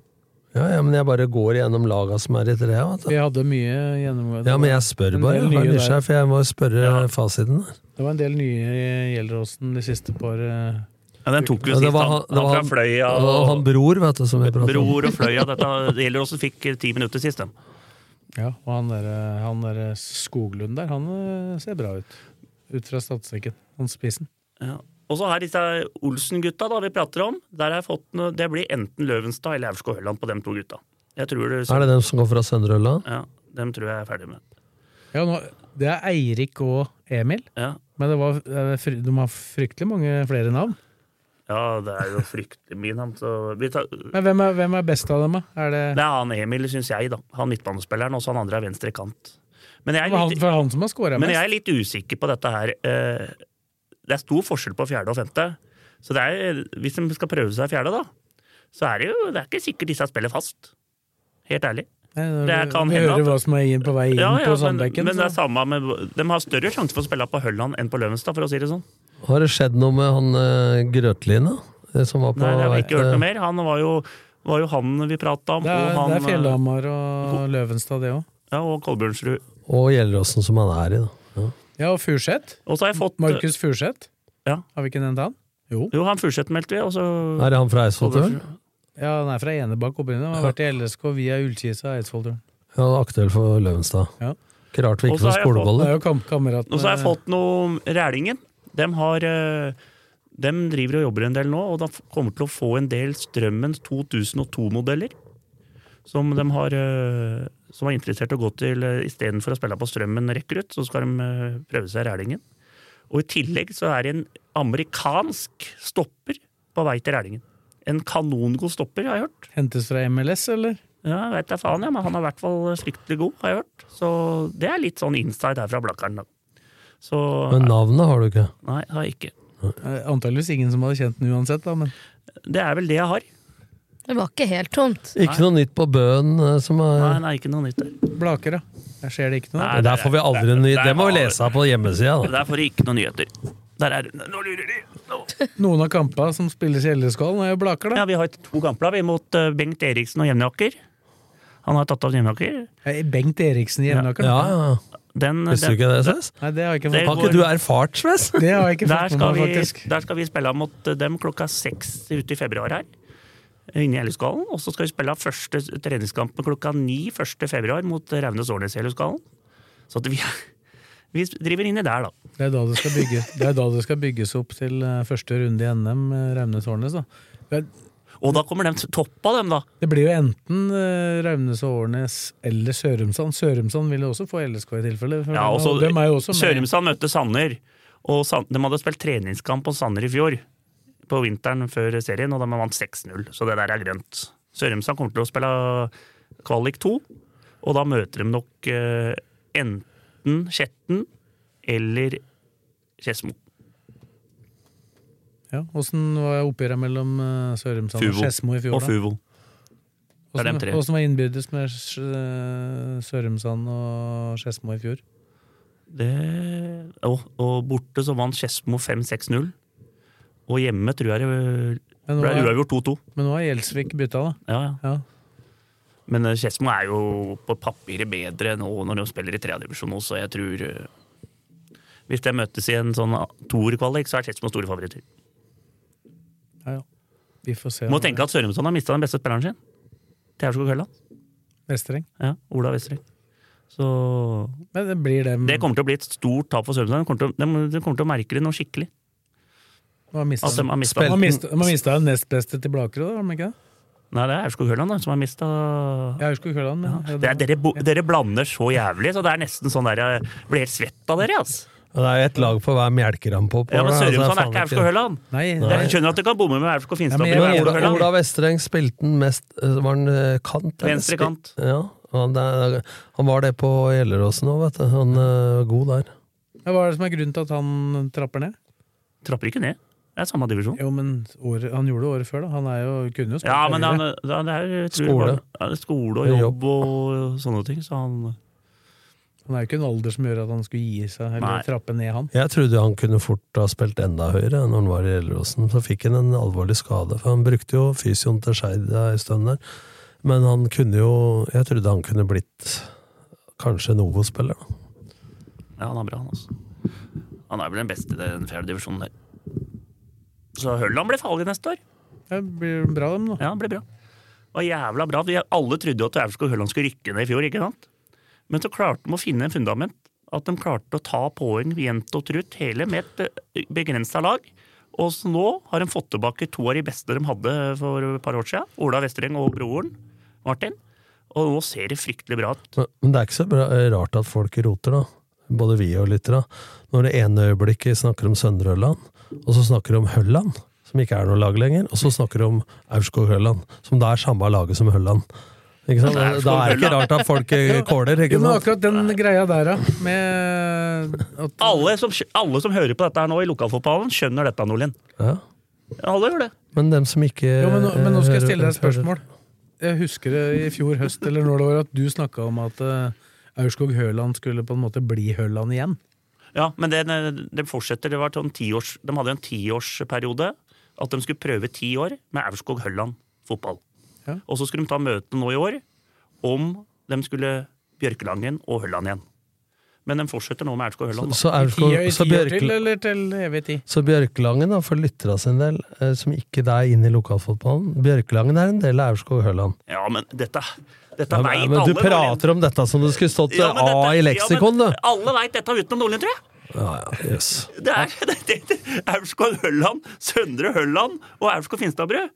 S5: Ja, ja, men jeg bare går gjennom laga som er i trea. vet du.
S2: Vi hadde mye gjennomgående.
S5: Ja, men jeg spør
S2: En
S5: bare.
S2: del
S5: Jeg har
S2: nye
S5: nysgjerrig, for jeg må spørre
S4: Ja.
S5: fasiten. der.
S2: Det var en del nye i Gjelleråsen de siste par eh,
S4: Ja, den tok vi
S5: Ja,
S4: sist.
S5: det var
S4: han,
S5: han- det var
S4: han fra Fløya
S5: Og han
S4: og
S5: bror, vet du, som vi prater om.
S4: Bror og Fløya. Dette det gjelder også fikk ti minutter sist, den.
S2: Ja, og han der, eh, han der eh, Skoglund der, han eh, ser bra ut. Ut fra statistikken. Han spissen.
S4: Ja. Og så her disse Olsen-gutta da vi prater om. Der har jeg fått noe, Det blir enten Løvenstad eller Aurskog Høland på de to gutta. Jeg tror det,
S5: Er det den som går fra Søndre Ørland?
S4: Ja, Dem tror jeg er ferdig med.
S2: Ja, nå, det er Eirik og Emil,
S4: Ja,
S2: men det var, eh, fry- de har fryktelig mange flere navn.
S4: ja det er jo fryktelig mye navn. så vi tar- Det
S2: Men hvem er, hvem er best av dem, da? Er det,
S4: er han Emil, syns jeg, da. Han midtbanespilleren, og så han andre er venstre kant. Men jeg
S2: det var
S4: er
S2: han,
S4: litt,
S2: for han som har scora mest?
S4: men jeg er litt usikker på dette her. Eh, Det er stor forskjell på fjerde og femte. Så det er, hvis de skal prøve seg i fjerde, da, så er det jo det er ikke sikkert disse spiller fast. Helt ærlig.
S2: Nei,
S4: Det kan
S2: Eh, vi
S4: hende
S2: hører
S4: at-
S2: hva som er inn på vei inn
S4: Ja,
S2: på
S4: ja, men,
S2: Sandbekken.
S4: men det er
S2: så-
S4: samme med, de har større sjanse for å spille på Hølland enn på Løvenstad, for å si det sånn.
S5: Har det skjedd noe med han eh, Grøtlin, da? Det som var på
S4: Nei, det har vi ikke
S5: et,
S4: hørt noe
S5: eh,
S4: mer. Han var jo, var jo han vi prata om,
S2: Det er,
S4: og, han, eh,
S2: det er Fjellhamar og Løvenstad, det òg.
S4: ja, og Kolbjørnsrud.
S5: Og Gjelleråsen, som han er i, da. Ja.
S2: Ja, og Furseth.
S4: Og så har jeg fått
S2: Markus Furseth.
S4: Ja.
S2: Har vi ikke nevnt han? Jo.
S4: Jo, han Furseth meldte vi, og så
S5: Er det han fra Eidsvollturen?
S4: Kolbjørnsrud.
S2: Ja, han er fra Enebakk opprinnelig. Han har vært i LSK via Ullkisa og Eidsvollturen.
S5: Ja, aktuell for Løvenstad.
S2: Ja.
S5: Ikke rart vi
S4: Og
S5: ikke
S4: så har
S5: får
S4: jeg fått-
S2: Det
S5: skoleboller.
S2: er jo kam kamerat
S4: Og så har jeg
S2: med-
S4: fått noe om Rælingen. De har eh, de driver og jobber en del nå, og de kommer til å få en del Strømmen 2002-modeller. Som de har eh, som er interessert i å gå til eh, istedenfor å spille på Strømmen rekrutt, så skal de eh, prøve seg i Rælingen. Og i tillegg så er det en amerikansk stopper på vei til Rælingen. En kanongod stopper, har jeg hørt.
S2: eh, Hentes fra MLS, eller?
S4: Ja, jeg vet da faen, ja, men han er i hvert fall fryktelig god, har jeg hørt. Så det er litt sånn inside her fra Blakkaren, da. Så
S5: Men navnet har du ikke.
S4: Nei, det har jeg ikke.
S2: Eh, Antageligvis ingen som hadde kjent den uansett, da, men
S4: Det er vel det jeg har.
S3: Det var ikke helt tomt.
S5: Ikke noe nytt på Bøen eh, som er
S4: Nei, nei, ikke noe nytt der.
S2: Blaker, da. Der skjer det ikke noe.
S4: Nei.
S5: Nei, Der får vi aldri en ny
S4: der-
S5: Det må vi
S4: der-
S5: lese på hjemmesida, da.
S4: Der får de ikke noen nyheter. Der er Nå lurer de! Nå.
S2: Noen av kampene som spilles i Elleskålen, er jo Blaker, da.
S4: Ja, vi har to kamper da, vi mot eh, Bengt Eriksen og Jevnaker. Han har tatt av Jevnaker.
S2: Eh, Bengt Eriksen i Jevnaker.
S5: Ja,
S2: da.
S5: ja.
S4: Den,
S5: Visste
S4: den
S5: du ikke det, Sves?
S2: Nei, det har jeg ikke
S4: Det
S2: fått
S5: Har
S2: med
S4: går-
S5: ikke du erfart, Sves?
S2: Det har jeg ikke
S4: der,
S2: fått med
S4: skal
S2: meg,
S4: vi,
S2: faktisk.
S4: der skal vi spille mot eh, dem klokka seks ute i februar her. Inne i Elleskålen. Og så skal vi spille første eh, treningskampen klokka ni 1. februar mot Raunes Årnes i Elleskålen. Så at vi, Vi driver inni der, da.
S2: Det er da det skal, bygge, det er da det skal bygges opp til eh, første runde i NM, eh, Raumnes-Årnes. da. Det,
S4: Og da kommer de toppa dem, da.
S2: det blir jo enten eh, Raumnes og Årnes eller Sørumsand. Sørumsand vil jo også få LSK i tilfelle. for
S4: Ja, og så-
S2: dem er jo også med.
S4: Sørumsand møtte Sanner. Og San- de hadde spilt treningskamp på Sanner i fjor, på vinteren før serien, og de vant 6-0. Så det der er grønt. Sørumsand kommer til å spille kvalik 2, og da møter de nok eh, enten Skjetten eller Skedsmo.
S2: Ja, Åssen var oppgjøret mellom eh, Sørumsand og
S4: Fuvo.
S2: Skedsmo i fjor?
S4: Og
S2: da?
S4: Fuvo. Det er dem
S2: Åssen
S4: tre.
S2: åssen var innbyrdes med Sj- eh, Sørumsand og Skedsmo i fjor?
S4: Det, og, og borte så vant Skedsmo 5-6-0. Og hjemme tror jeg det
S2: Men nå
S4: ble
S2: er-
S4: uavgjort 2-2.
S2: Men nå har Gjelsvik bytta, da.
S4: Ja, ja.
S2: Ja.
S4: Men eh, Skedsmo er jo på papiret bedre nå når de spiller i tredjedivisjon også, så jeg tror eh, Hvis de møtes i en sånn toerkvalik, så er Skedsmo store favoritter.
S2: Ja, ja. Vi får se.
S4: Må tenke at Sørumsand har mista den beste spilleren sin. Til Aurskog Høland.
S2: Vestereng.
S4: Ja, Ola Westereng. Så
S2: Men det blir dem.
S4: Det kommer til å bli et stort tap for Sørumsand. De kommer til å, de, de kommer til å merke det nå skikkelig.
S2: De har mista
S4: At de Altså, har mista
S2: Man mista- man mista den nest beste til Blakerud, da, har de ikke det?
S4: Nei, det er Aurskog Høland da, som har mista
S2: Jeg husker ikke hvordan, men
S4: det er, dere, bo- dere blander så jævlig, så det er nesten sånn der Jeg blir helt svett av dere, altså.
S5: Og Det er jo ett lag på hver melkerampe. oppå
S4: Ja, men
S5: der, altså, det er
S4: Sørumsand er
S5: faen
S4: ikke Aurskog Høland.
S2: Nei,
S5: Nei.
S4: Jeg skjønner at du kan bomme med Aurskog Finstad.
S2: Ja, men
S4: og
S2: jeg-
S4: Aurskog
S5: Ola,
S4: Høland.
S5: Ola Vestereng spilte den mest eh, Var den eh, kant? eller?
S4: Venstre kant.
S5: Ja. Han, det er, han var det på Gjelleråsen òg, vet du. Han eh, var god der.
S2: Ja, Hva er det som er grunnen til at han trapper ned?
S4: Trapper ikke ned. Det er samme divisjon.
S2: Jo, men året, Han gjorde det året før, da. Han er jo, kunne jo spilt
S4: Ja, men han,
S2: høyere.
S4: han er, jeg tror
S5: Skole.
S4: det var- ja, skole og
S5: Jobb.
S4: jobb og sånne ting, så han
S2: han er jo ikke en alder som gjør at han skulle gi seg eller
S4: Nei.
S2: trappe ned, han.
S5: Jeg trodde han kunne fort ha spilt enda høyere enn når han var i Gjelleråsen. Så fikk han en alvorlig skade, for han brukte jo fysioen til Skeid ei stund der. Men han kunne jo Jeg trodde han kunne blitt kanskje en Ovo-spiller, da.
S4: Ja, han er bra, han altså. Han er vel den beste i den fjerde divisjonen der. Så Høland blir farlig neste år.
S2: Det blir bra, dem, da.
S4: Ja, han blir bra. Og jævla bra. Vi alle trodde jo at Aurskog Høland skulle rykke ned i fjor, ikke sant? Men så klarte de å finne en fundament. At de klarte å ta poeng jevnt og trutt, hele med et begrensa lag. Og så nå har de fått tilbake to av de beste de hadde for et par år siden. Ola Vestereng og broren Martin. Og nå ser det fryktelig bra ut.
S5: Men, men det er ikke så bra, eh, rart at folk roter, da. Både vi og lyttere. Når det ene øyeblikket snakker om Søndre Ørland, og så snakker de om Hølland, som ikke er noe lag lenger, og så snakker de om Aurskog Hølland, som da er samme laget som Hølland. Ikke sant? Da er det ikke rart at folk eh, kåler,
S2: Jo,
S5: ikke
S2: men
S5: sant?
S2: akkurat den greia der, da. Med at
S4: Alle som, alle som hører på dette her nå i lokalfotballen, skjønner dette, Nordlien.
S5: Ja.
S4: Alle gjør det.
S5: Men dem som ikke
S2: Jo, men, nå, men nå skal jeg
S5: eh,
S2: stille deg et
S5: hører-
S2: spørsmål. Jeg husker det i fjor høst eller når det var at du snakka om at eh, Aurskog Høland skulle på en måte bli Høland igjen.
S4: Ja, men det, det fortsetter. Det var sånn 10 års, de hadde en tiårsperiode. At de skulle prøve ti år med Aurskog Hølland fotball.
S2: Ja.
S4: Og så skulle de ta møte nå i år om de skulle Bjørkelangen og Hølland igjen. Men de fortsetter nå med Aurskog Hølland. da.
S5: Så,
S2: Ti
S5: Aurskog,
S2: år,
S5: så,
S2: ti år til,
S5: Bjørkla-
S2: eller til evig tid?
S5: så Bjørkelangen, da, for lytterne sin del, eh, som ikke det er inne i lokalfotballen Bjørkelangen er en del av Aurskog Hølland.
S4: Ja, men dette, dette
S5: Ja,
S4: veit
S5: men,
S4: alle.
S5: men du
S4: Nordlien.
S5: prater om dette som det skulle stått eh,
S4: Ja, men
S5: A
S4: dette-
S5: i leksikon,
S4: ja,
S5: du!
S4: men Alle veit dette utenom Nordlien, tror jeg.
S5: Ja, ja, jøss.
S4: Det er det, det, det, Aurskog Hølland, Søndre Hølland og Aurskog Finstadbrød.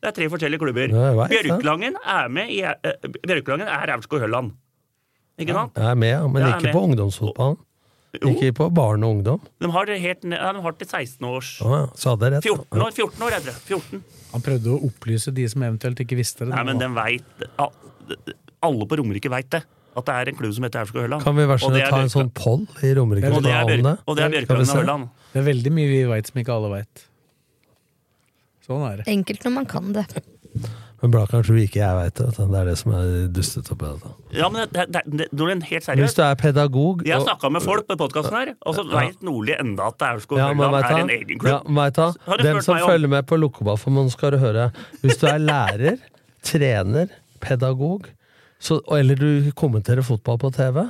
S4: Det er tre forskjellige klubber.
S5: Ja, jeg vet det.
S4: Bjørklangen er med i eh, Bjørklangen er Aurskog Hølland. Ikke sant?
S5: Jeg er med, ja, men
S4: Jeg er
S5: ikke
S4: med.
S5: på ungdomsfotballen.
S4: Jo.
S5: Ikke på barn og ungdom.
S4: De har, det helt, ned- ja, de har til 16 års
S5: Å, ja, så hadde jeg rett.
S4: 14 år, 14 år, jeg tror. 14.
S2: Han prøvde å opplyse de som eventuelt ikke visste det.
S4: Nei, men den vet, ja, Alle på Romerike veit det. At det er en klubb som heter Aurskog Hølland.
S5: Kan vi i hvert
S4: Og
S5: fall
S4: det er
S5: ta en
S4: Bjørkla-
S5: sånn poll i Romerike?
S4: Og det er,
S5: Blad om
S4: Bjørk,
S5: det?
S4: og det er
S5: Skal vi
S4: Bjørklangen og
S5: se?
S4: Hølland.
S2: Det er veldig mye vi veit som ikke alle veit. Sånn er det.
S3: Enkelt når man kan det.
S5: Men Blakan tror ikke jeg veit det. vet du. Det er det som er dustete oppi dette.
S4: Ja, men det, det, det, Nordlien, helt
S5: Hvis
S4: seriøst.
S5: du er pedagog
S4: Jeg har
S5: og-
S4: snakka med folk på podkasten her, og så veit Nordli enda at Aurskog
S5: Ja, men
S4: Hølland
S5: vet
S4: er en
S5: du
S4: egen
S5: hva? ja,
S4: klubb.
S5: men vet du hva?
S4: Har du
S5: Dem
S4: spurt
S5: som
S4: meg om-
S5: følger med på Lokkeballformann, skal du høre. Hvis du er lærer, trener, pedagog, så, eller du kommenterer fotball på TV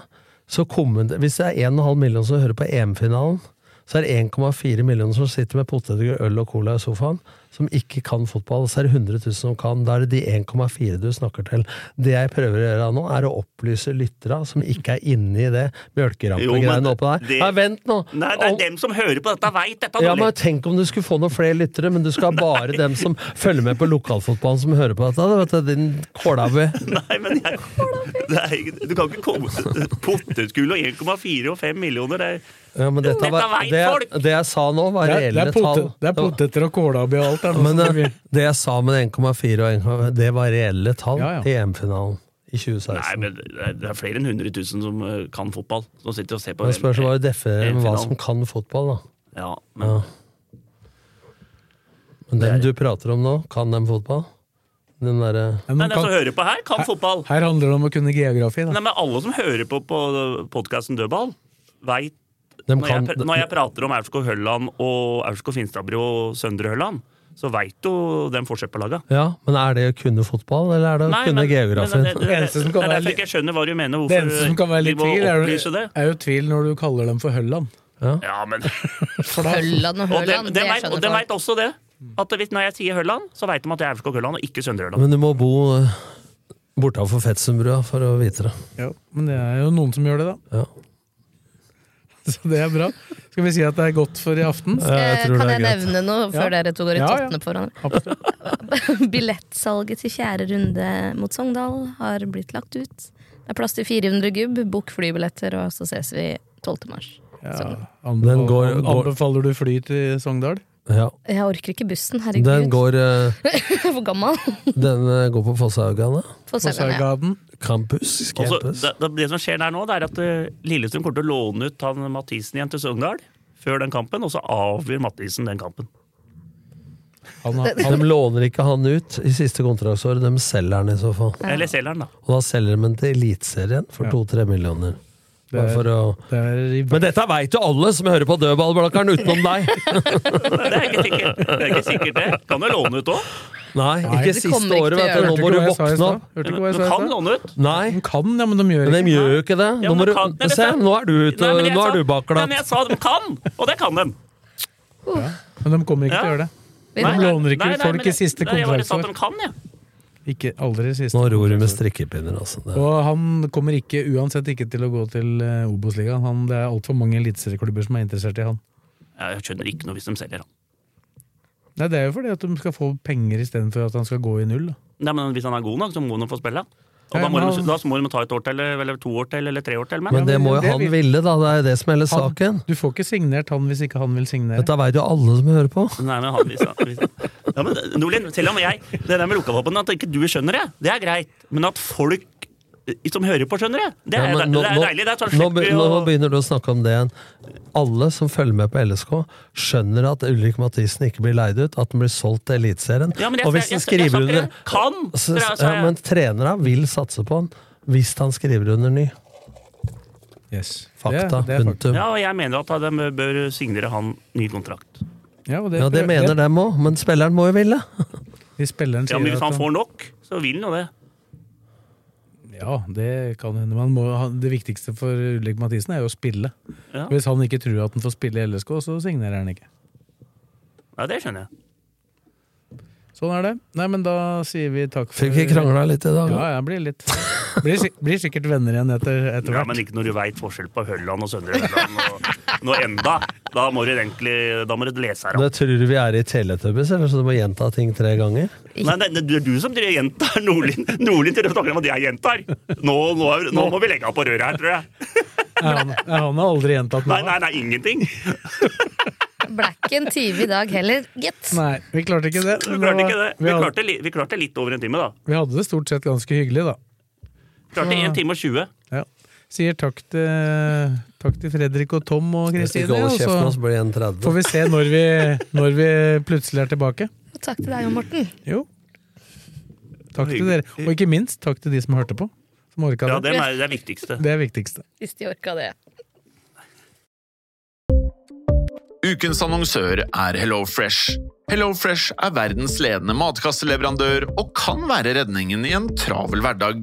S5: så kommenter, Hvis det er 1,5 million som hører på EM-finalen, så er det 1,4 millioner som sitter med poteter, øl og cola i sofaen. som ikke kan fotball, så er det 100 000 som kan. Da er det de 1,4 du snakker til. Det jeg prøver å gjøre nå, er å opplyse lyttere som ikke er inne i det
S4: Jo, men
S5: mjølkerampegreiene oppå der.
S4: det-
S5: Nei, vent nå!
S4: Nei, det er
S5: Om-
S4: dem som hører på dette, veit dette!
S5: ja,
S4: Nordli.
S5: men Tenk om du skulle få noen flere lyttere, men du skal ha bare dem som følger med på lokalfotballen som hører på dette. Vet du, din kålaue.
S4: Nei, men jeg, det er, ikke- du kan ikke komme Potetgull og 1,4 og 5 millioner, det er
S5: Ja, men dette
S4: Dette
S5: var,
S4: vet
S5: det,
S4: folk!
S5: det jeg sa nå, var
S2: Det er, det
S5: reelle
S2: er, pote,
S5: tall.
S2: det er poteter og kålabbi og alt. Det er noe
S5: Men
S2: som
S5: eh,
S2: blir-
S5: det jeg sa med 1,4 og 1,5, det var reelle tall
S2: Ja, ja.
S5: i EM-finalen i
S4: Nei,
S5: 2016.
S4: men det er- det er flere enn 100 000 som eh, kan fotball. Som sitter og ser på
S5: Men
S4: VM.
S5: spørs hva du definerer med hva
S4: EM-finalen.
S5: som kan fotball, da.
S4: Ja, men
S5: Ja. Men
S4: Det er-
S5: den du prater om nå, kan dem fotball? Den derre
S2: Men
S4: Nei,
S2: man
S4: den som
S2: kan,
S4: hører på her, kan fotball.
S2: her handler det om å kunne geografi. Da.
S4: Nei, men alle som hører på på podkasten Dødball, veit
S5: dem
S4: når,
S5: kan,
S4: jeg pr- når jeg prater om Aurskog Hølland og Aurskog Finstadbru og Søndre Hølland, så veit jo den forskjell på laga.
S5: Ja, men er det å kunne fotball, eller er det å kunne geografien?
S4: det, det, det,
S2: Eneste som kan
S4: er
S2: være
S4: derfor
S2: li-
S4: jeg ikke skjønner hva du mener. Hvorfor
S2: Det eneste som kan være litt
S4: altså, vi må
S2: tvil, er,
S4: opplyse
S2: jo-
S4: det.
S2: er jo tvil når du kaller dem for Hølland.
S4: Ja, men
S2: For da,
S3: Hølland og
S4: Og de,
S3: Høland,
S4: de,
S3: det
S4: vet, og de
S3: skjønner folk.
S4: vet også det. At hvis, når jeg sier Hølland, så veit de at det er Aurskog-Hølland og ikke Søndre-Hølland.
S5: Men du må bo eh, bortafor Fetsundbrua for å vite det.
S2: ja, men det er jo noen som gjør det, da.
S5: Ja.
S3: Eh,
S2: Så det er bra. Skal vi si at det er godt for i aften?
S5: Ja, jeg
S3: Eh,
S5: tror
S3: Kan
S5: det er
S3: jeg
S5: greit.
S3: nevne noe før
S2: Ja.
S3: dere to går i
S2: Ja, ja.
S3: tottene på hverandre?
S2: Absolutt.
S3: Billettsalget til fjerde runde mot Sogndal har blitt lagt ut. Det er plass til 400 gubb. Bok flybilletter, og så ses vi 12. mars.
S2: Ja.
S3: Sogndal.
S2: Anbefaler,
S5: går- går-
S2: anbefaler du fly til Sogndal?
S5: Ja.
S3: Jeg orker ikke bussen,
S5: Den
S3: herregud.
S5: går, eh,
S3: Jeg er for gammel.
S5: den eh, går på Fosshaugane.
S3: Få se den, ja.
S2: Sargaden?
S5: Campus.
S4: Altså,
S5: campus.
S4: det, det, det som skjer der nå, det er at eh, Lillestrøm kommer til å låne ut han Mathisen igjen til Sogndal før den kampen, og så avgjør Mathisen den kampen.
S2: Han, har-
S5: de låner ikke han ut i siste kontraktsår, de selger han i så fall.
S4: Eller selger han, da.
S5: Og da selger de den til Eliteserien for
S2: Ja.
S5: to-tre millioner. Bare
S2: Det er-
S5: for å...
S2: det er i
S5: Men dette veit jo alle som hører på Dødballblakkeren utenom deg!
S4: Det er ikke sikkert, det. Er ikke sikkert det. Kan jo låne ut òg.
S5: Nei,
S2: de
S5: ikke siste
S3: kommer ikke
S5: året,
S3: til å
S5: vet
S3: gjøre
S5: du.
S2: Hørte ikke
S5: Nå må du
S2: hva jeg sa i
S5: våkne
S2: stad?
S5: opp.
S2: Hørte ikke hva jeg
S4: Du
S2: sa i
S4: kan
S2: stad?
S4: låne ut.
S5: Nei,
S2: De kan, ja, men de gjør
S5: men de
S2: ikke
S5: gjør jo ikke det.
S4: Ja,
S5: Nå,
S4: men
S5: må
S4: det
S5: du,
S4: kan- men
S5: se,
S4: dette-
S5: nå er du ute,
S4: Nei, men jeg
S5: nå
S4: sa-
S5: er
S4: Nei,
S5: du
S4: men
S5: bakglatt.
S4: jeg sa de kan, og det kan de.
S2: Men de kommer ikke til å
S4: Ja.
S2: gjøre det.
S3: Vi
S4: Nei,
S3: får-
S2: De låner ikke
S4: nei,
S2: ut
S4: nei,
S2: folk i
S4: men
S2: siste
S4: nei, Jeg bare sa at
S2: kontraktsår.
S4: de kan, jeg.
S2: Ikke aldri i siste.
S5: Nå ror du med strikkepinner, altså. Det.
S2: Og han kommer ikke, uansett ikke til å gå til eh, Obos-ligaen. Han- Det er altfor mange eliteserieklubber som er interessert i han.
S4: Ja. Jeg skjønner ikke noe hvis de selger han.
S2: Nei, Det er jo fordi at de skal få penger istedenfor at han skal gå i null. Da.
S4: Nei, men Hvis han er god nok, så må han få spille. Og
S2: Nei,
S4: da må,
S2: men
S4: de,
S2: han-
S4: da må de ta et år til, eller to år til, eller tre år til. Men,
S5: Men det må jo
S2: det
S5: han
S2: vil-
S5: ville, da. Det er jo det som er hele
S2: Han-
S5: saken.
S2: Du får ikke signert han hvis ikke han vil signere.
S5: Dette veit jo alle som hører på.
S4: Nei, men han, hvis, hvis, ja, men Nordlien, selv om jeg Det der med lukkavapen, at ikke du skjønner det, det er greit. Men at folk eh, som hører på, skjønner det, det er,
S5: Ja,
S4: det
S5: men nå-
S4: er
S5: nå-
S4: deilig. Det er sånn
S5: nå,
S4: slipper
S5: be-
S4: vi
S5: nå
S4: å
S5: begynner du å snakke om det igjen. Alle som følger med på LSK, skjønner at Ulrik Mathisen ikke blir leid ut, at han blir solgt til Eliteserien.
S4: Ja, men jeg-
S5: og hvis
S4: jeg- jeg- jeg
S5: han skriver
S4: snakker
S5: under
S4: om kan, altså,
S5: så,
S4: dere er- så
S5: ja,
S4: jeg-
S5: Men trenerne vil satse på han hvis han skriver under ny.
S2: Yes.
S5: Fakta.
S2: Det, det er fakta.
S5: punktum.
S4: Ja, og jeg mener at de bør signere han ny kontrakt.
S2: Ja, og det,
S5: Ja, det mener
S2: det.
S5: dem òg, men spilleren må jo ville.
S2: De spilleren
S4: Ja,
S2: sier
S4: men Hvis
S2: at
S4: han
S2: han
S4: får nok, så vil han jo det.
S2: Ja, det kan hende. Man må, han- det viktigste for Ulrik Mathisen er jo å spille.
S4: Ja.
S2: Hvis han ikke tror at han får spille i LSK, så signerer han ikke.
S4: Ja, Det skjønner jeg.
S2: Sånn er det. Nei, men da sier vi takk for
S5: Fikk vi krangla litt i dag?
S2: Ja, jeg blir litt Blir, sik- blir sikkert venner igjen etter, etter
S4: Ja,
S2: hvert.
S4: men ikke når du veit forskjell på Hølland og Søndre Hølland. Og, nå enda. Da må du egentlig da må du lese her.
S5: Det tror du vi er i Teletubbies, eller så du må gjenta ting tre ganger?
S4: Nei, nei, det er du som driver jenter. Nordlien Nordlien driver og snakker om at de er jenter. Nå, nå, er- nå må vi legge av på røret her, tror jeg.
S2: Er han, er han har aldri gjentatt
S4: Nei,
S2: noe.
S4: nei, nei, ingenting.
S3: Blacken tyver i dag heller, gitt.
S2: Nei, vi klarte ikke det.
S4: Vi
S2: men
S4: klarte
S2: var-
S4: ikke det.
S2: Vi
S4: Vi
S2: hadde,
S4: klarte, li- vi klarte litt over en time, da.
S2: vi hadde det stort sett ganske hyggelig, da.
S4: Klarte 1 time og 20.
S2: Ja. Sier takk til, takk til Fredrik og Tom og
S5: Hvis
S2: Kristine.
S5: ikke holder
S2: og
S5: kjeften, så
S2: så
S5: blir det en
S2: får
S5: 30.
S2: vi se når vi, når vi plutselig er tilbake.
S3: Og takk til deg og Morten.
S2: Jo. Takk til dere. Og ikke minst takk til de som hørte på. Som orka
S4: Ja,
S2: det.
S4: det er det viktigste.
S2: Det er viktigste.
S3: Hvis de orka det.
S6: Ukens annonsør er HelloFresh. HelloFresh er verdens ledende matkasseleverandør og kan være redningen i en travel hverdag.